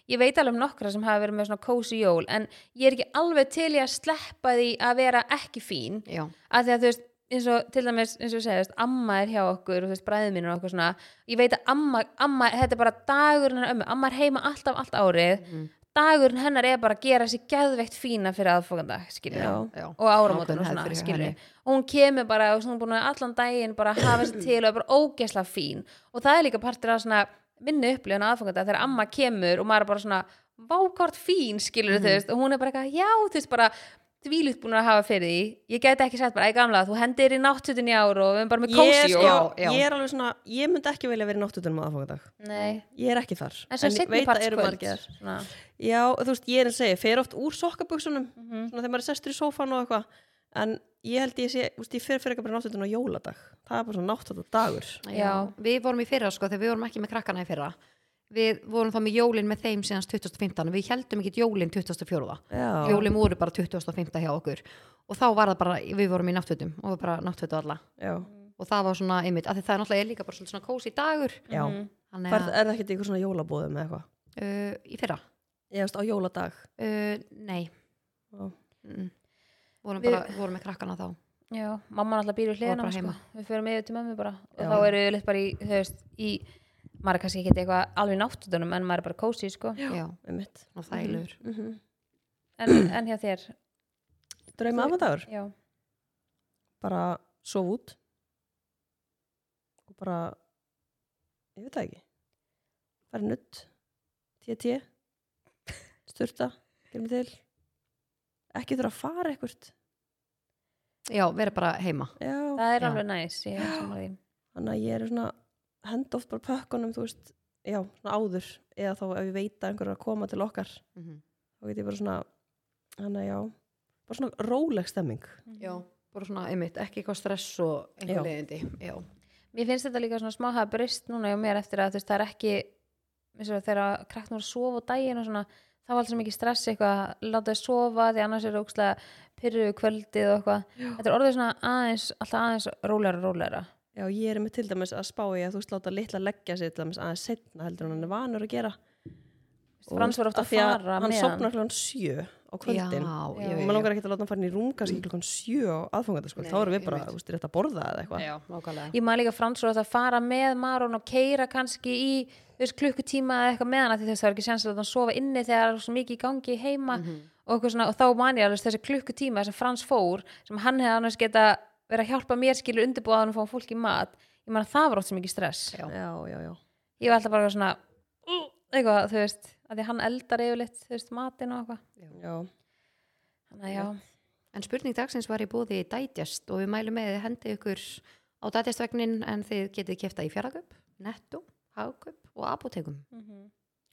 Speaker 1: ég veit alveg um nokkra sem hafa verið með svona kósi jól en ég er ekki alveg til í að sleppa því að vera ekki fín
Speaker 2: já,
Speaker 1: að því að þú veist eins og til dæmis, eins og segist, amma er hjá okkur og þú veist, bræði mín og okkur svona ég veit að amma, amma, þetta er bara dagurinn hennar ömmu, amma er heima alltaf allt árið dagurinn hennar er bara að gera sér geðveikt fína fyrir aðfókanda, skilur
Speaker 3: Já.
Speaker 2: já.
Speaker 1: og áramótin og
Speaker 2: Ákveðin hefð
Speaker 1: svona,
Speaker 2: fyrir
Speaker 1: skilur
Speaker 2: henni.
Speaker 1: og hún kemur bara, og svona búin að allan daginn bara að hafa sér til og er bara ógesla fín og það er líka partur af svona minni upplifun aðfókanda þegar amma kemur og maður er bara svona, vákvart fín skilur
Speaker 3: Mhm.
Speaker 1: þú veist, og hún er bara eitthvað, já þú veist bara, þvílugt búin að hafa fyrir því ég gæti ekki sagt bara, æ gamla, þú hendir í náttutin í ár og við erum bara með
Speaker 3: Ég,
Speaker 1: kósi
Speaker 3: sko,
Speaker 1: og...
Speaker 2: já, já.
Speaker 3: ég er alveg svona, ég myndi ekki velja að vera í náttutum á aðfangadag.
Speaker 1: Nei,
Speaker 3: Ég er ekki þar.
Speaker 1: en svo
Speaker 3: ég
Speaker 1: setni
Speaker 3: veit að
Speaker 1: part
Speaker 3: eru
Speaker 1: kvöld
Speaker 3: margir.
Speaker 1: svona.
Speaker 3: Já, þú veist, ég er að segja, ég fer oft úr sokkabuksunum, svona þegar maður er sestur í sófan og eitthvað, en ég held ég sé, þú veist, ég fer fyrir ekki bara náttúrulega á jóladag. Það er bara svona náttúrulega dagur.
Speaker 1: Já.
Speaker 2: við vorum í fyrra sko þegar við vorum ekki með krakkana í fyrra við vorum þá með jólin með þeim síðan 2015 við heldum ekki jólin 2004
Speaker 3: Já,
Speaker 2: jólin voru bara 2015 hjá okkur og þá var það bara, við vorum í náttfötum og bara náttfötu alla
Speaker 3: já.
Speaker 2: og það var svona einmitt, af því það er náttúrulega er líka bara svolítið svona kósi dagur
Speaker 3: já.
Speaker 1: Mhm.
Speaker 2: þannig
Speaker 3: Færð,
Speaker 2: að,
Speaker 3: er það ekkert eitthvað svona jólabóðum eða eitthvað?
Speaker 2: uh, í fyrra
Speaker 3: Ég veist, á jóladag.
Speaker 2: uh, nei
Speaker 3: Já.
Speaker 2: mm. vorum
Speaker 1: Við-
Speaker 2: bara, vorum með krakkana þá
Speaker 1: Já, mamma náttúrulega býr við
Speaker 2: Og
Speaker 1: hliðina
Speaker 2: bara
Speaker 1: á, sko.
Speaker 2: heima.
Speaker 1: við fyrir með yfir til mömmu bara og
Speaker 2: Já.
Speaker 1: þá eru við litt bara í, þú veist, í maður er kannski ekki eitthvað alveg náttutunum en maður er bara kósi sko.
Speaker 2: já,
Speaker 3: einmitt
Speaker 2: og þægilegur
Speaker 3: mm -hmm.
Speaker 1: en, en hjá þér
Speaker 3: Drauma afandagur,
Speaker 1: já.
Speaker 3: bara sof út og bara ég veit það ekki bara nutt TT sturta, gerum til ekki þurfa að fara eitthvað
Speaker 2: já, vera bara heima
Speaker 3: já,
Speaker 1: það er
Speaker 2: Já.
Speaker 1: alveg næs ég um er sammála því.
Speaker 3: þannig að ég er svona hend oft bara pökkunum, þú veist já, svona áður, eða þá ef ég veit að einhver er að koma til okkar,
Speaker 2: Mhm.
Speaker 3: þá get ég bara svona þannig að já bara svona róleg stemming
Speaker 2: já, bara svona einmitt, ekki eitthvað stress og
Speaker 3: Já.
Speaker 2: einhver leiðindi já,
Speaker 1: mér finnst þetta líka svona smá hafa breyst núna hjá mér eftir að þú veist það er ekki eins og þegar krakknum voru að sofa á daginn og svona þá var alltaf mikið stress eitthvað að láta þau sofa því annars er ógstlega pyrru kvöldið og eitthvað þetta er orðið svona aðeins alltaf aðeins rólegra og rólegra
Speaker 3: já, ég er með til dæmis að spá ég að þú veist láta litla leggja sér til dæmis aðeins setna heldur en hann er vanur að gera
Speaker 1: Þú veist, Frans var ofta
Speaker 3: Af
Speaker 1: að
Speaker 3: því
Speaker 1: fara
Speaker 3: hann
Speaker 1: með
Speaker 3: sopnar klokkan sjö á kvöldin
Speaker 2: já,
Speaker 1: Já.
Speaker 3: og maður langar ekki að láta hann fara inn í rúm kannski klokkan sjö á aðfangandi
Speaker 2: Nei,
Speaker 3: þá erum við bara,
Speaker 2: einmitt.
Speaker 3: þú veist, rétt að borða eða eitthvað
Speaker 2: já, nákvæmlega
Speaker 1: ég maður líka Frans var ofta að fara með Maron og keira kannski í þú veist, klukkutíma eða eitthvað með hann af því þess að það er ekki sens að hann sofa inni þegar það er svo mikið í gangi heima
Speaker 2: Mhm.
Speaker 1: og, eitthvað svona, og þá man ég alveg þessi klukkutíma sem Frans fór sem hann hefði annars geta verið að hjálpa mér skilur undirbúðaðan og fá fólk í mat ég man að það var oft sem mikið stress
Speaker 2: Já.
Speaker 3: já, já, já,
Speaker 1: ég var alltaf bara eitthvað svona "Ú", eitthvað þú veist að því hann eldar yfirleitt þú veist matinn og eitthvað
Speaker 3: já.
Speaker 1: þannig að já
Speaker 2: En spurning dagsins var í búði Digest og við mælum með að þið hendi ykkur á Digest-vegnin en þið getið kefta í fjaraköp, netto, hagköp og apotekum.
Speaker 1: Mhm.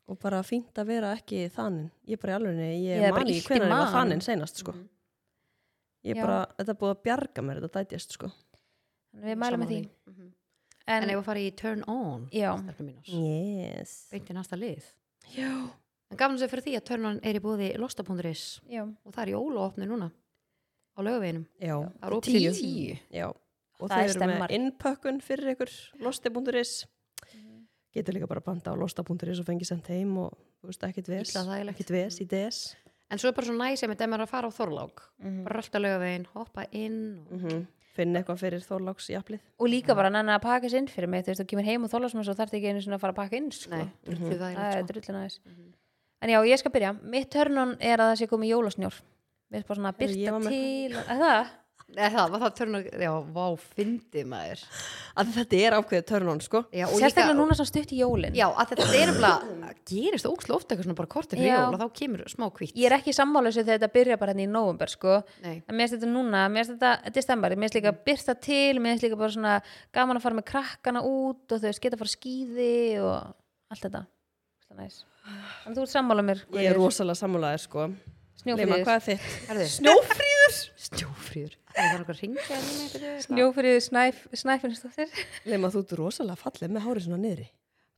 Speaker 3: og bara fínt að vera ekki þaninn ég bara í alveg, ég,
Speaker 1: Ég er bara
Speaker 3: man
Speaker 1: illt
Speaker 3: ekki
Speaker 1: í
Speaker 3: hvernig ég var
Speaker 1: maganum.
Speaker 3: þaninn seinast sko. ég
Speaker 1: Já.
Speaker 3: bara, þetta er búið að bjarga mér þetta dætjast sko.
Speaker 1: Þannig að við mælum með því
Speaker 2: Mhm. En,
Speaker 1: en,
Speaker 2: ef að fara í turn on,
Speaker 1: Já.
Speaker 2: stelpur mínar,
Speaker 3: yes
Speaker 2: beint í næsta lið.
Speaker 3: já,
Speaker 2: En gafnum sér fyrir því að turn on er í búði losta.is
Speaker 1: já,
Speaker 2: og það er í óloopni núna á lögaveginum.
Speaker 3: já,
Speaker 2: Það er opið til tíu.
Speaker 3: já.
Speaker 1: Það
Speaker 3: og
Speaker 1: er
Speaker 3: þeir eru
Speaker 1: stemmar.
Speaker 3: með innpökkun fyrir ykkur losti.is getur líka bara að banda á losta.is og fengi sent heim og þú veist, ekkit ves
Speaker 2: Illa þægilegt.
Speaker 3: ekkit ves í des
Speaker 2: En svo er bara svo næsið með demar að fara á Þorlák, bara rölda lögavegin, hoppa inn og
Speaker 3: mm finna eitthvað fyrir þorláks jafnlið
Speaker 1: og líka bara nenni að pakka sér inn fyrir mig þú veist, þú kemur heim og þólar sem þess og þarf ekki einu sinni að fara að pakka inn sko.
Speaker 2: Nei, drullu
Speaker 1: það er
Speaker 2: þægilegt, sko.
Speaker 1: drullin aðeins en já, ég skal byrja, mitt törnun er að það sé komið jólasnjór við erum bara svona að
Speaker 3: Heyrðu, ég
Speaker 1: byrta
Speaker 3: var með-
Speaker 1: til að það,
Speaker 2: Nei, það var það turn on, já, vá, fyndið maður.
Speaker 3: að þetta er ákveðið törnón sko
Speaker 2: Já, og
Speaker 1: sérstaklega
Speaker 2: líka-
Speaker 1: núna svona stutt í jólin
Speaker 2: Já, að þetta er nefnilega gerist ókslega oft eitthvað svona bara kortir fyrir
Speaker 1: Já.
Speaker 2: jól og þá kemur smá kvít
Speaker 1: ég er ekki sammála þessu þegar þetta byrja bara hérna í november sko.
Speaker 2: Nei,
Speaker 1: en mér finnst þetta núna, mér finnst þetta, þetta er stemmari mér finnst líka að byrta til, mér finnst líka bara svona gaman að fara með krakkana út og þau geta að fara á skíði og allt þetta Ógeðslega næs. þannig að þú ert sammála mér
Speaker 3: ég er rosalega sammálaðir sko Leima,
Speaker 1: snjófríður
Speaker 3: hvað er þitt?
Speaker 2: herðu,
Speaker 3: Snjófríður
Speaker 2: snjófríður Það er eitthvað að ringja hérna með eitthvað
Speaker 1: snjófríður snæf, snæfinstóttir
Speaker 3: Leima, þú ert rosalega fallið með hárið svona niðri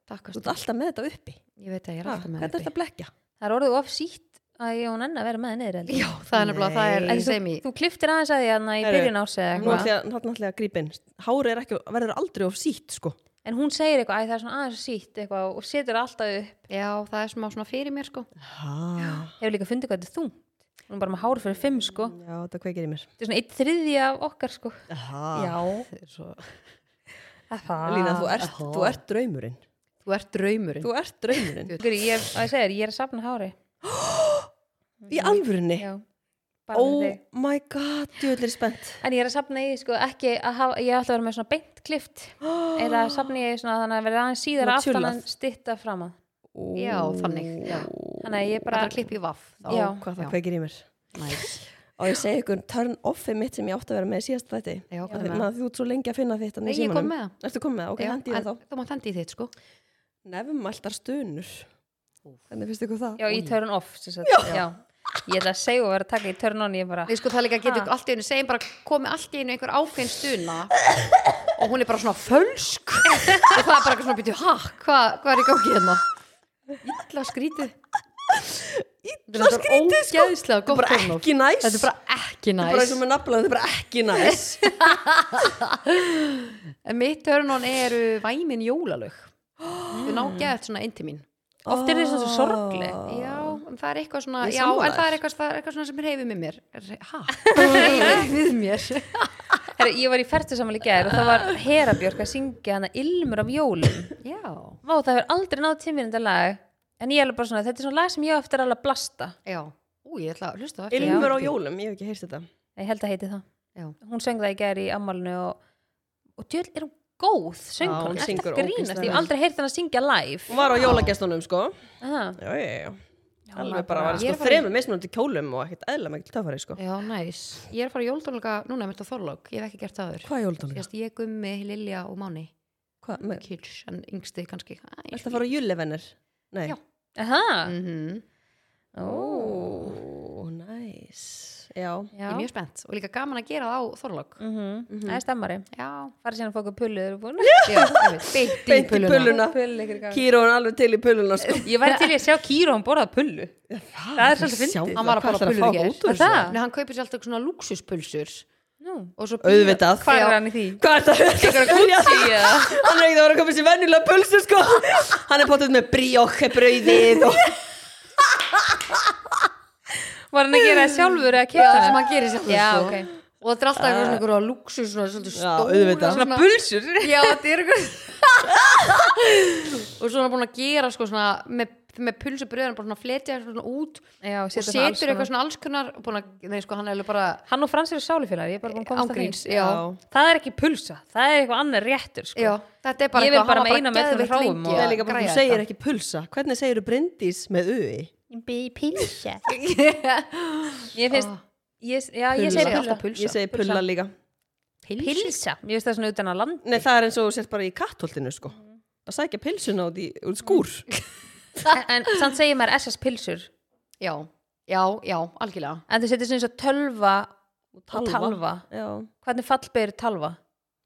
Speaker 2: Takk,
Speaker 3: Þú ert alltaf með þetta uppi
Speaker 2: ég veit að ég er
Speaker 3: Ha,
Speaker 2: alltaf með
Speaker 3: Hvernig er þetta
Speaker 2: þetta
Speaker 3: að blekja?
Speaker 1: það er orðið of sítt að ég og nenni að vera með neður
Speaker 2: Já, það er nefnilega, það er
Speaker 3: Nei.
Speaker 2: ég segi
Speaker 1: þú kliftir aðeins að því að í
Speaker 3: Heyrðu,
Speaker 1: byrjun árs eða
Speaker 3: Nú ætla
Speaker 1: eitthvað
Speaker 3: ég að- þarna ætla ég að grípa inn Hárið er ekki, verður aldrei of sítt sko
Speaker 1: en hún segir eitthvað, æ það er svona aðeins sítt eitthvað og setur alltaf upp
Speaker 2: Já, það er smá svona fyrir mér sko
Speaker 3: Ha.
Speaker 1: hefur líka fundið hvað þetta er þungt hún er bara með hár fyrir fimm sko
Speaker 3: Já, þetta kveikir í mér
Speaker 1: þetta er svona eitt þriðja af okkar sko
Speaker 3: Já.
Speaker 2: Það er svo-
Speaker 3: Lína,
Speaker 2: Ah,
Speaker 3: þú ert, þú ert draumurinn
Speaker 2: Þú ert draumurinn
Speaker 3: Þú ert draumurinn
Speaker 1: Guri, ég, að ég segir, ég er að safna hári
Speaker 3: Í alvörunni
Speaker 1: Já, bara
Speaker 3: Oh
Speaker 1: fyrir þig
Speaker 3: my god, djöðlir spennt
Speaker 1: En ég er að safna í, sko, ekki að hafa, ég ætla að vera með svona beint klift eða að safna í svona þannig að vera aðeins síðar
Speaker 3: Svona
Speaker 1: aftan
Speaker 3: tjullað.
Speaker 1: en stitta framan
Speaker 2: Já, þannig já.
Speaker 1: Þannig að ég
Speaker 2: Það
Speaker 1: bara,
Speaker 2: er að klippa í vaff
Speaker 3: Ó,
Speaker 1: Já.
Speaker 3: hvað það kveikir í mér
Speaker 2: Næs
Speaker 3: Og ég segi ykkur turn offið mitt sem ég átti að vera með í síðast þetta
Speaker 2: Já, hvað er með það?
Speaker 3: Þú ert svo lengi að finna þitt þarna í
Speaker 2: Nei, ég kom
Speaker 3: símanum.
Speaker 2: með það.
Speaker 3: Ertu komið með það? Ok,
Speaker 2: Já,
Speaker 3: hendi ég það
Speaker 2: en Þú mátt hendi í þitt sko
Speaker 3: þá Nefnmæltar stunur Hvernig finnst ykkur það?
Speaker 1: já, í turn off sem sagt. já. ég ætla að segja og vera að taka í turn on ég bara,
Speaker 2: Við sko það líka getur
Speaker 1: Ha.
Speaker 2: allt í einu segjum bara komi allt í einu einhver ákveðin stuna og hún er bara svona fölsk og það er bara eitthvað svona býtu ha, hvað hva er í gangi hérna? Ítla skrítið Ítla
Speaker 3: skrítið,
Speaker 2: sko Ógeðslega
Speaker 3: Þetta er
Speaker 2: gott
Speaker 3: bara
Speaker 2: turn-off.
Speaker 3: ekki næs
Speaker 2: Þetta er bara ekki
Speaker 3: Þetta er bara
Speaker 2: næs
Speaker 3: eins og með nafnlega, þetta er bara ekki næs
Speaker 2: En mitt hörnón eru væmin jólalög Þau ná gett svona inn til mín
Speaker 1: oft er þetta svo sorgleg
Speaker 2: Já, en það er eitthvað svona
Speaker 3: Ah. Ég er
Speaker 2: Já,
Speaker 3: sammála
Speaker 2: en það
Speaker 3: þér.
Speaker 2: er eitthvað, það er eitthvað svona sem reyfið með mér Hæ? Reyfið með mér
Speaker 1: Herra, ég var í ferðtusamali gær og það var Herabjörk að syngja hana Ilmur af jólum
Speaker 2: já,
Speaker 1: Vá, það hefur aldrei náð tíminn þetta lag en ég er alveg bara svona, þetta er svona lag sem ég á eftir alveg að blasta
Speaker 2: já ú, ég ætla að hlusta á það eftir.
Speaker 3: Ilmur á
Speaker 2: Já.
Speaker 3: jólum, ég hef ekki heyrst þetta
Speaker 1: ég held að heiti það
Speaker 2: Já.
Speaker 1: hún söng það í gær í ammálinu og, og djöl er hún góð
Speaker 3: Já,
Speaker 1: söngkona,
Speaker 3: hún
Speaker 1: eftir
Speaker 3: syngur
Speaker 1: að grínast
Speaker 3: ógeðslega
Speaker 1: ég
Speaker 3: vel.
Speaker 1: hef aldrei heyrt hann að syngja live
Speaker 3: Hún var á jólagestunum sko
Speaker 1: Aha.
Speaker 3: Já, já, já,
Speaker 1: Já, hún
Speaker 3: alveg bara var
Speaker 2: Ég er
Speaker 3: sko
Speaker 2: bara-
Speaker 3: þremur mismunandi kjólum og ekkert eðla mikil töfari sko
Speaker 2: já, næs, ég er að fara í jóldónleika núna með þetta þorlók, ég hef ekki gert það aður
Speaker 3: Hvað er jóldónleika?
Speaker 2: Sérst, ég gummi, Lilja og Máni
Speaker 3: Hvað, með,
Speaker 2: Kills, en yngsti kannski Æ,
Speaker 3: ertu að fara á jullivennir? Nei
Speaker 2: Já.
Speaker 1: Aha.
Speaker 3: Mm.
Speaker 2: Mhm.
Speaker 1: Ó.
Speaker 3: Ó, næs Já,
Speaker 1: Já.
Speaker 2: Ég er mjög spennt og líka gaman að gera það á þorlók
Speaker 1: Mhm.
Speaker 3: Mhm.
Speaker 1: það er stemmari
Speaker 2: já,
Speaker 1: fara síðan að fóka pullu þeir eru búin
Speaker 2: já einmitt, beint í
Speaker 3: Beint í
Speaker 2: pöluna
Speaker 3: pulluna.
Speaker 1: Pullu ykkur í gang.
Speaker 3: kýrón alveg til í pulluna sko
Speaker 1: ég væri til í að sjá Kíru hann borðað pullu það er svolítið
Speaker 3: Sjá
Speaker 1: fyndið
Speaker 2: Hann var að
Speaker 3: Hvað
Speaker 2: borða
Speaker 3: ætlarðu
Speaker 2: pullu
Speaker 3: fá
Speaker 2: í gær.
Speaker 3: út úr
Speaker 1: Var það?
Speaker 3: þessu?
Speaker 2: Nei, hann kaupir sér alltaf svona lúksuspulsur
Speaker 1: Nú,
Speaker 2: og svo býður-
Speaker 3: Auðvitað
Speaker 1: hvað er
Speaker 2: Já.
Speaker 1: hann í því?
Speaker 3: Hvað er þetta?
Speaker 1: Kútsi, eða?
Speaker 3: Hann er ekkert að vera að koma sér venjulega pulsu sko Hann er potið með brjók, brauðið og
Speaker 1: var hann að gera það sjálfur eða
Speaker 2: Já,
Speaker 1: kipta
Speaker 2: sem hann gerir sjálfur
Speaker 1: já,
Speaker 2: sko.
Speaker 1: ok
Speaker 2: og þetta er alltaf eitthvað svona einhverja lúksu svona svolítið
Speaker 3: Ah. Já,
Speaker 2: stóra
Speaker 3: auðvitað.
Speaker 2: svona,
Speaker 1: pulsur
Speaker 2: já, þetta er eitthvað og svona búin að gera sko svona með, með pulsubröðan bara svona fletja svona út
Speaker 1: já,
Speaker 2: og setur eitthvað svona alls konar og búin að, nei sko, hann er alveg bara
Speaker 1: hann og Frans eru sálufélagar, ég er bara búin að komast að
Speaker 2: ángríns,
Speaker 1: því
Speaker 2: já,
Speaker 1: það er ekki pulsa, það er eitthvað annar réttur sko.
Speaker 2: já þetta er bara
Speaker 1: Ég vil
Speaker 2: eitthvað,
Speaker 1: bara
Speaker 2: hann var
Speaker 1: meina með öllum hráum
Speaker 2: geðveikt lengi
Speaker 1: og-
Speaker 3: Það
Speaker 2: að
Speaker 3: er líka bara,
Speaker 2: græja
Speaker 3: þú segir
Speaker 2: þetta.
Speaker 3: ekki pulsa Hvernig segir þú brindís með uði?
Speaker 1: ég finnst ég, já, ég
Speaker 2: Pulsa.
Speaker 1: segi
Speaker 2: Alltaf
Speaker 1: pulsa.
Speaker 2: pulsa.
Speaker 3: Ég segi pulla líka
Speaker 1: pilsa, ég finnst það svona utan að land
Speaker 3: Nei, það er eins og þú sért bara í kattholtinu sko að sækja pilsuna út í út í skúr
Speaker 1: en, en samt segir maður SS pilsur
Speaker 2: já, já, já, algjörlega
Speaker 1: en þau setur svona eins og tölva og
Speaker 3: talva.
Speaker 1: talva.
Speaker 3: Já,
Speaker 1: hvernig fallbeir talva?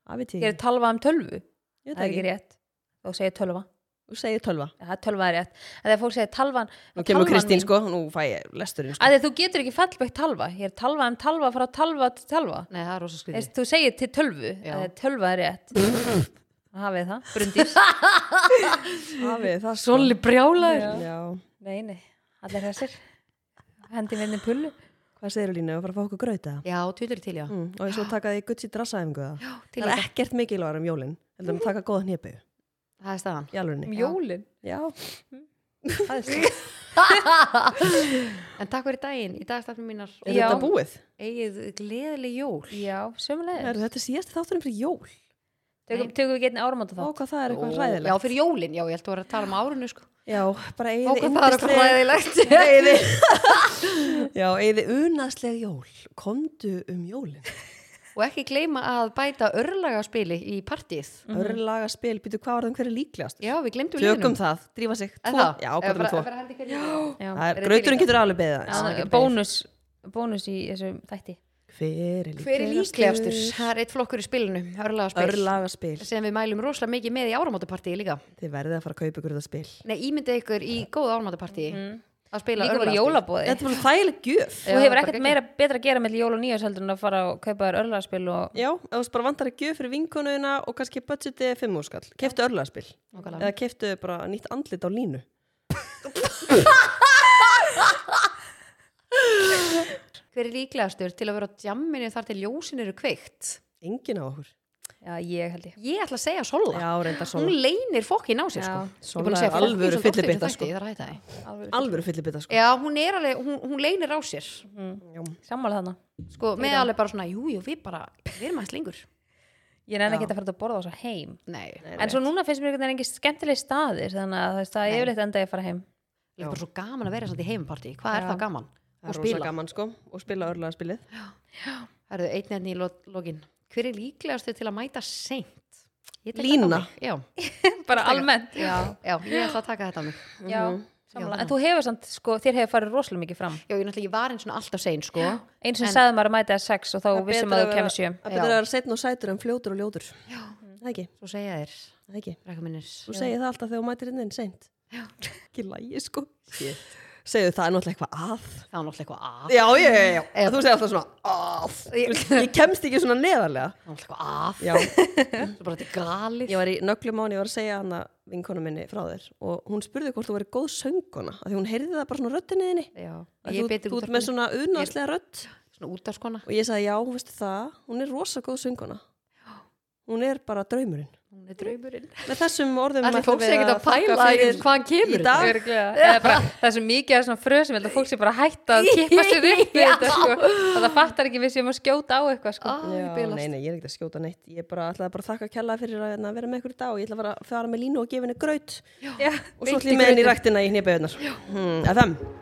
Speaker 3: það veit ég
Speaker 1: gerir talva um tölvu?
Speaker 3: Ég
Speaker 1: það er ekki
Speaker 3: veit ekki,
Speaker 1: rétt og segir tölva,
Speaker 3: þú segir tölva
Speaker 1: ja, það er tölva er rétt en þegar fólk segir talvan
Speaker 3: Nú kemur
Speaker 1: talvan
Speaker 3: Kristín
Speaker 1: mín-
Speaker 3: sko, nú fæ ég lesturinn sko
Speaker 1: að því að þú getur ekki fallbeitt talva ég er talva um talva frá talva til talva
Speaker 2: nei, það er rosa skriði
Speaker 1: Eist, þú segir til tölvu
Speaker 2: Já.
Speaker 1: að tölva er rétt hafið það, brundís
Speaker 3: Hafið það sko
Speaker 2: svolítið brjálaður
Speaker 3: Já,
Speaker 1: nei, nei, allir þessir hendi minni pullu
Speaker 3: hvað segir Línu, að fara að fá okkur grauta?
Speaker 2: já, tvítur til já
Speaker 3: Mm, og ég svo taka því gutsi drassaæfingu það
Speaker 2: til
Speaker 3: Það er
Speaker 2: líka.
Speaker 3: ekkert mikilvægur um jólin heldur að taka góða hnepu í
Speaker 2: það er staðan
Speaker 3: alvegni
Speaker 1: jólin
Speaker 3: Já,
Speaker 1: Það er svo-
Speaker 2: en takk fyrir daginn, í dagstafnum mínar
Speaker 3: er
Speaker 1: Já.
Speaker 3: þetta búið?
Speaker 2: eigið gleðileg jól
Speaker 1: já, sömulegir
Speaker 3: Er þetta síðast þátturinn fyrir jól?
Speaker 1: tökum, tökum við getni áramóta
Speaker 3: Ó,
Speaker 1: þá
Speaker 3: hvað það er eitthvað
Speaker 2: já,
Speaker 3: hræðilegt
Speaker 2: fyrir jólin, já, ég held að vera að tala um árunu sko.
Speaker 3: Já, bara
Speaker 2: Ó,
Speaker 3: eigið
Speaker 2: hvað það er eitthvað hræðilegt
Speaker 3: Eyði Já, eyði unasleg jól Komdu um jólin
Speaker 2: og ekki gleyma að bæta örlagaspili í partíð
Speaker 3: Örlaga spil, býtu hvað var það um hverju líklegast
Speaker 2: Mhm. já, við glemdum
Speaker 3: Tökum það, drífa sig
Speaker 2: Er
Speaker 3: tvo-
Speaker 2: það?
Speaker 3: Já,
Speaker 2: Eða
Speaker 3: hvað
Speaker 2: bara- að
Speaker 3: það tvo
Speaker 2: fara að hendi hverju liði?
Speaker 1: Já.
Speaker 3: Það er-
Speaker 2: Eru
Speaker 3: Grauturinn
Speaker 2: til í
Speaker 3: getur alveg beðið
Speaker 1: Já,
Speaker 3: aðeins.
Speaker 2: ekki beðið.
Speaker 1: bónus bónus í þessum þætti
Speaker 3: Hver er
Speaker 2: hver er
Speaker 3: líklegastur?
Speaker 2: líklegastur? það er eitt flokkur í spilinu, örlagaspil
Speaker 3: Örlaga spil,
Speaker 2: sem við mælum rosalega mikið með í áramótapartíi líka
Speaker 3: þið verðið að fara að kaupa ykkur það spil
Speaker 2: nei, ímyndið ykkur í góða áramótapartíi að spila
Speaker 1: Mhm. líka bara
Speaker 2: örlagaspil
Speaker 1: jólabóði
Speaker 3: Þetta var þægileg gjöf
Speaker 1: þú
Speaker 2: Já,
Speaker 1: hefur
Speaker 2: bara
Speaker 1: ekkert
Speaker 2: geggjað.
Speaker 1: meira betra að gera með jól og nýjars heldur en að fara og kaupa þér örlaðspil og
Speaker 3: Já, ef þú bara vantar að gjöf fyrir vinkonuna og kannski budgetið er fimm úrskall Keftu örlaðaspil
Speaker 2: Nákvæmlega.
Speaker 3: Eða keftu bara nýtt andlit á línu
Speaker 2: hver er líklegastur til að vera á djamminu þar til ljósin eru kveikt
Speaker 3: Engin á okkur
Speaker 1: já, ég held ég
Speaker 2: ég ætla að segja Sola
Speaker 3: Já, reyndar
Speaker 2: hún
Speaker 3: svona
Speaker 2: leynir fokkin á sér sko.
Speaker 1: Já.
Speaker 2: Ég búin
Speaker 3: Sola
Speaker 2: að
Speaker 3: er
Speaker 2: segja fólki
Speaker 3: alvöru
Speaker 2: svolítið oft í
Speaker 3: fyllibytta,
Speaker 2: þessum
Speaker 3: sko.
Speaker 2: þætti, ég þarf að hætta því.
Speaker 3: Alvöru fyllibita sko
Speaker 2: já, hún er alveg, hún, hún leynir á sér
Speaker 3: Já.
Speaker 1: sammála þarna
Speaker 2: sko, með alveg bara svona, jú, jú, við bara við erum aðeins lengur
Speaker 1: ég nenni ekki að fara út að borða þess að heim
Speaker 2: nei, nei,
Speaker 1: en svo núna finnst mér einhvern veginn ekki skemmtileg staðir þannig að þú veist, það er yfirleitt enda ég að fara heim
Speaker 2: er bara svo gaman að vera samt í heimapartí hvað er
Speaker 1: Já.
Speaker 2: það gaman? og
Speaker 3: Það er rosa
Speaker 2: spila,
Speaker 3: gaman sko og spila örlaðaspilið
Speaker 2: það eru einn enn í lo lokin hver er líklegastu til að mæta seint? Ég tek þetta á
Speaker 3: Lína.
Speaker 2: mig. já,
Speaker 1: bara almennt
Speaker 2: já, já, ég ætla að taka þetta á mig
Speaker 1: já, sammála. en þú hefur samt, sko, þér hefur farið rosalega mikið fram
Speaker 2: já, ég náttúrulega, ég var einn svona alltaf sein, sko
Speaker 1: eins og sagði maður að mæta að sex og þá vissum að þú kemur sjö
Speaker 3: Það betur að vera setn og sætur en fljótur og ljótur Já Það ekki,
Speaker 2: svo segja þér,
Speaker 3: það ekki
Speaker 2: rekka minnir
Speaker 3: Þú segir það alltaf þegar þú mætir hérna inn inn seint Ekki lægi sko Segðu það er náttúrulega eitthvað að
Speaker 2: það er náttúrulega eitthvað að
Speaker 3: Já, já, já, já,
Speaker 2: Ef-
Speaker 3: þú segir alltaf svona að Þú veist, Ég kemst ekki svona neðarlega
Speaker 2: það er náttúrulega eitthvað að,
Speaker 3: Já,
Speaker 2: svo bara þetta er galið
Speaker 3: ég var í nöglum án, ég var að segja hana vinkonu minni frá þér og hún spurði hvort þú verið góð söngona af því hún heyrði það bara svona röttinniðinni
Speaker 2: já, ég
Speaker 3: að þú,
Speaker 2: er betur
Speaker 3: þú ert með svona unaðslega rött
Speaker 2: svona svona útarskona
Speaker 3: og ég sagði já, veistu það, hún er rosa góð sönguna hún er bara draumurinn
Speaker 2: hún er draumurinn
Speaker 3: með þessum orðum
Speaker 2: allir fólk sé
Speaker 3: við
Speaker 2: ekki að pæla
Speaker 3: þakka
Speaker 2: í
Speaker 3: fyrir
Speaker 2: hvaðan kemur
Speaker 3: í dag.
Speaker 2: þetta.
Speaker 1: Örugglega. Eða bara, það er svo mikið af svona fröð sem ég held að fólk sé bara hætt að kippa sér upp við þetta sko. að það fattar ekki við séum að skjóta á eitthvað sko.
Speaker 2: Æ,
Speaker 3: Já,
Speaker 2: bilast.
Speaker 3: nei, nei, ég er ekkert að skjóta neitt ég bara ætlaði bara að þakka kjalla fyrir að hérna, vera með ykkur í dag og ég ætla að fara, fara með línu og gefa henni graut
Speaker 1: Já,
Speaker 3: og svo
Speaker 1: beint
Speaker 3: ætla ég með henni í ræktina í hnébæðunar hmm, FM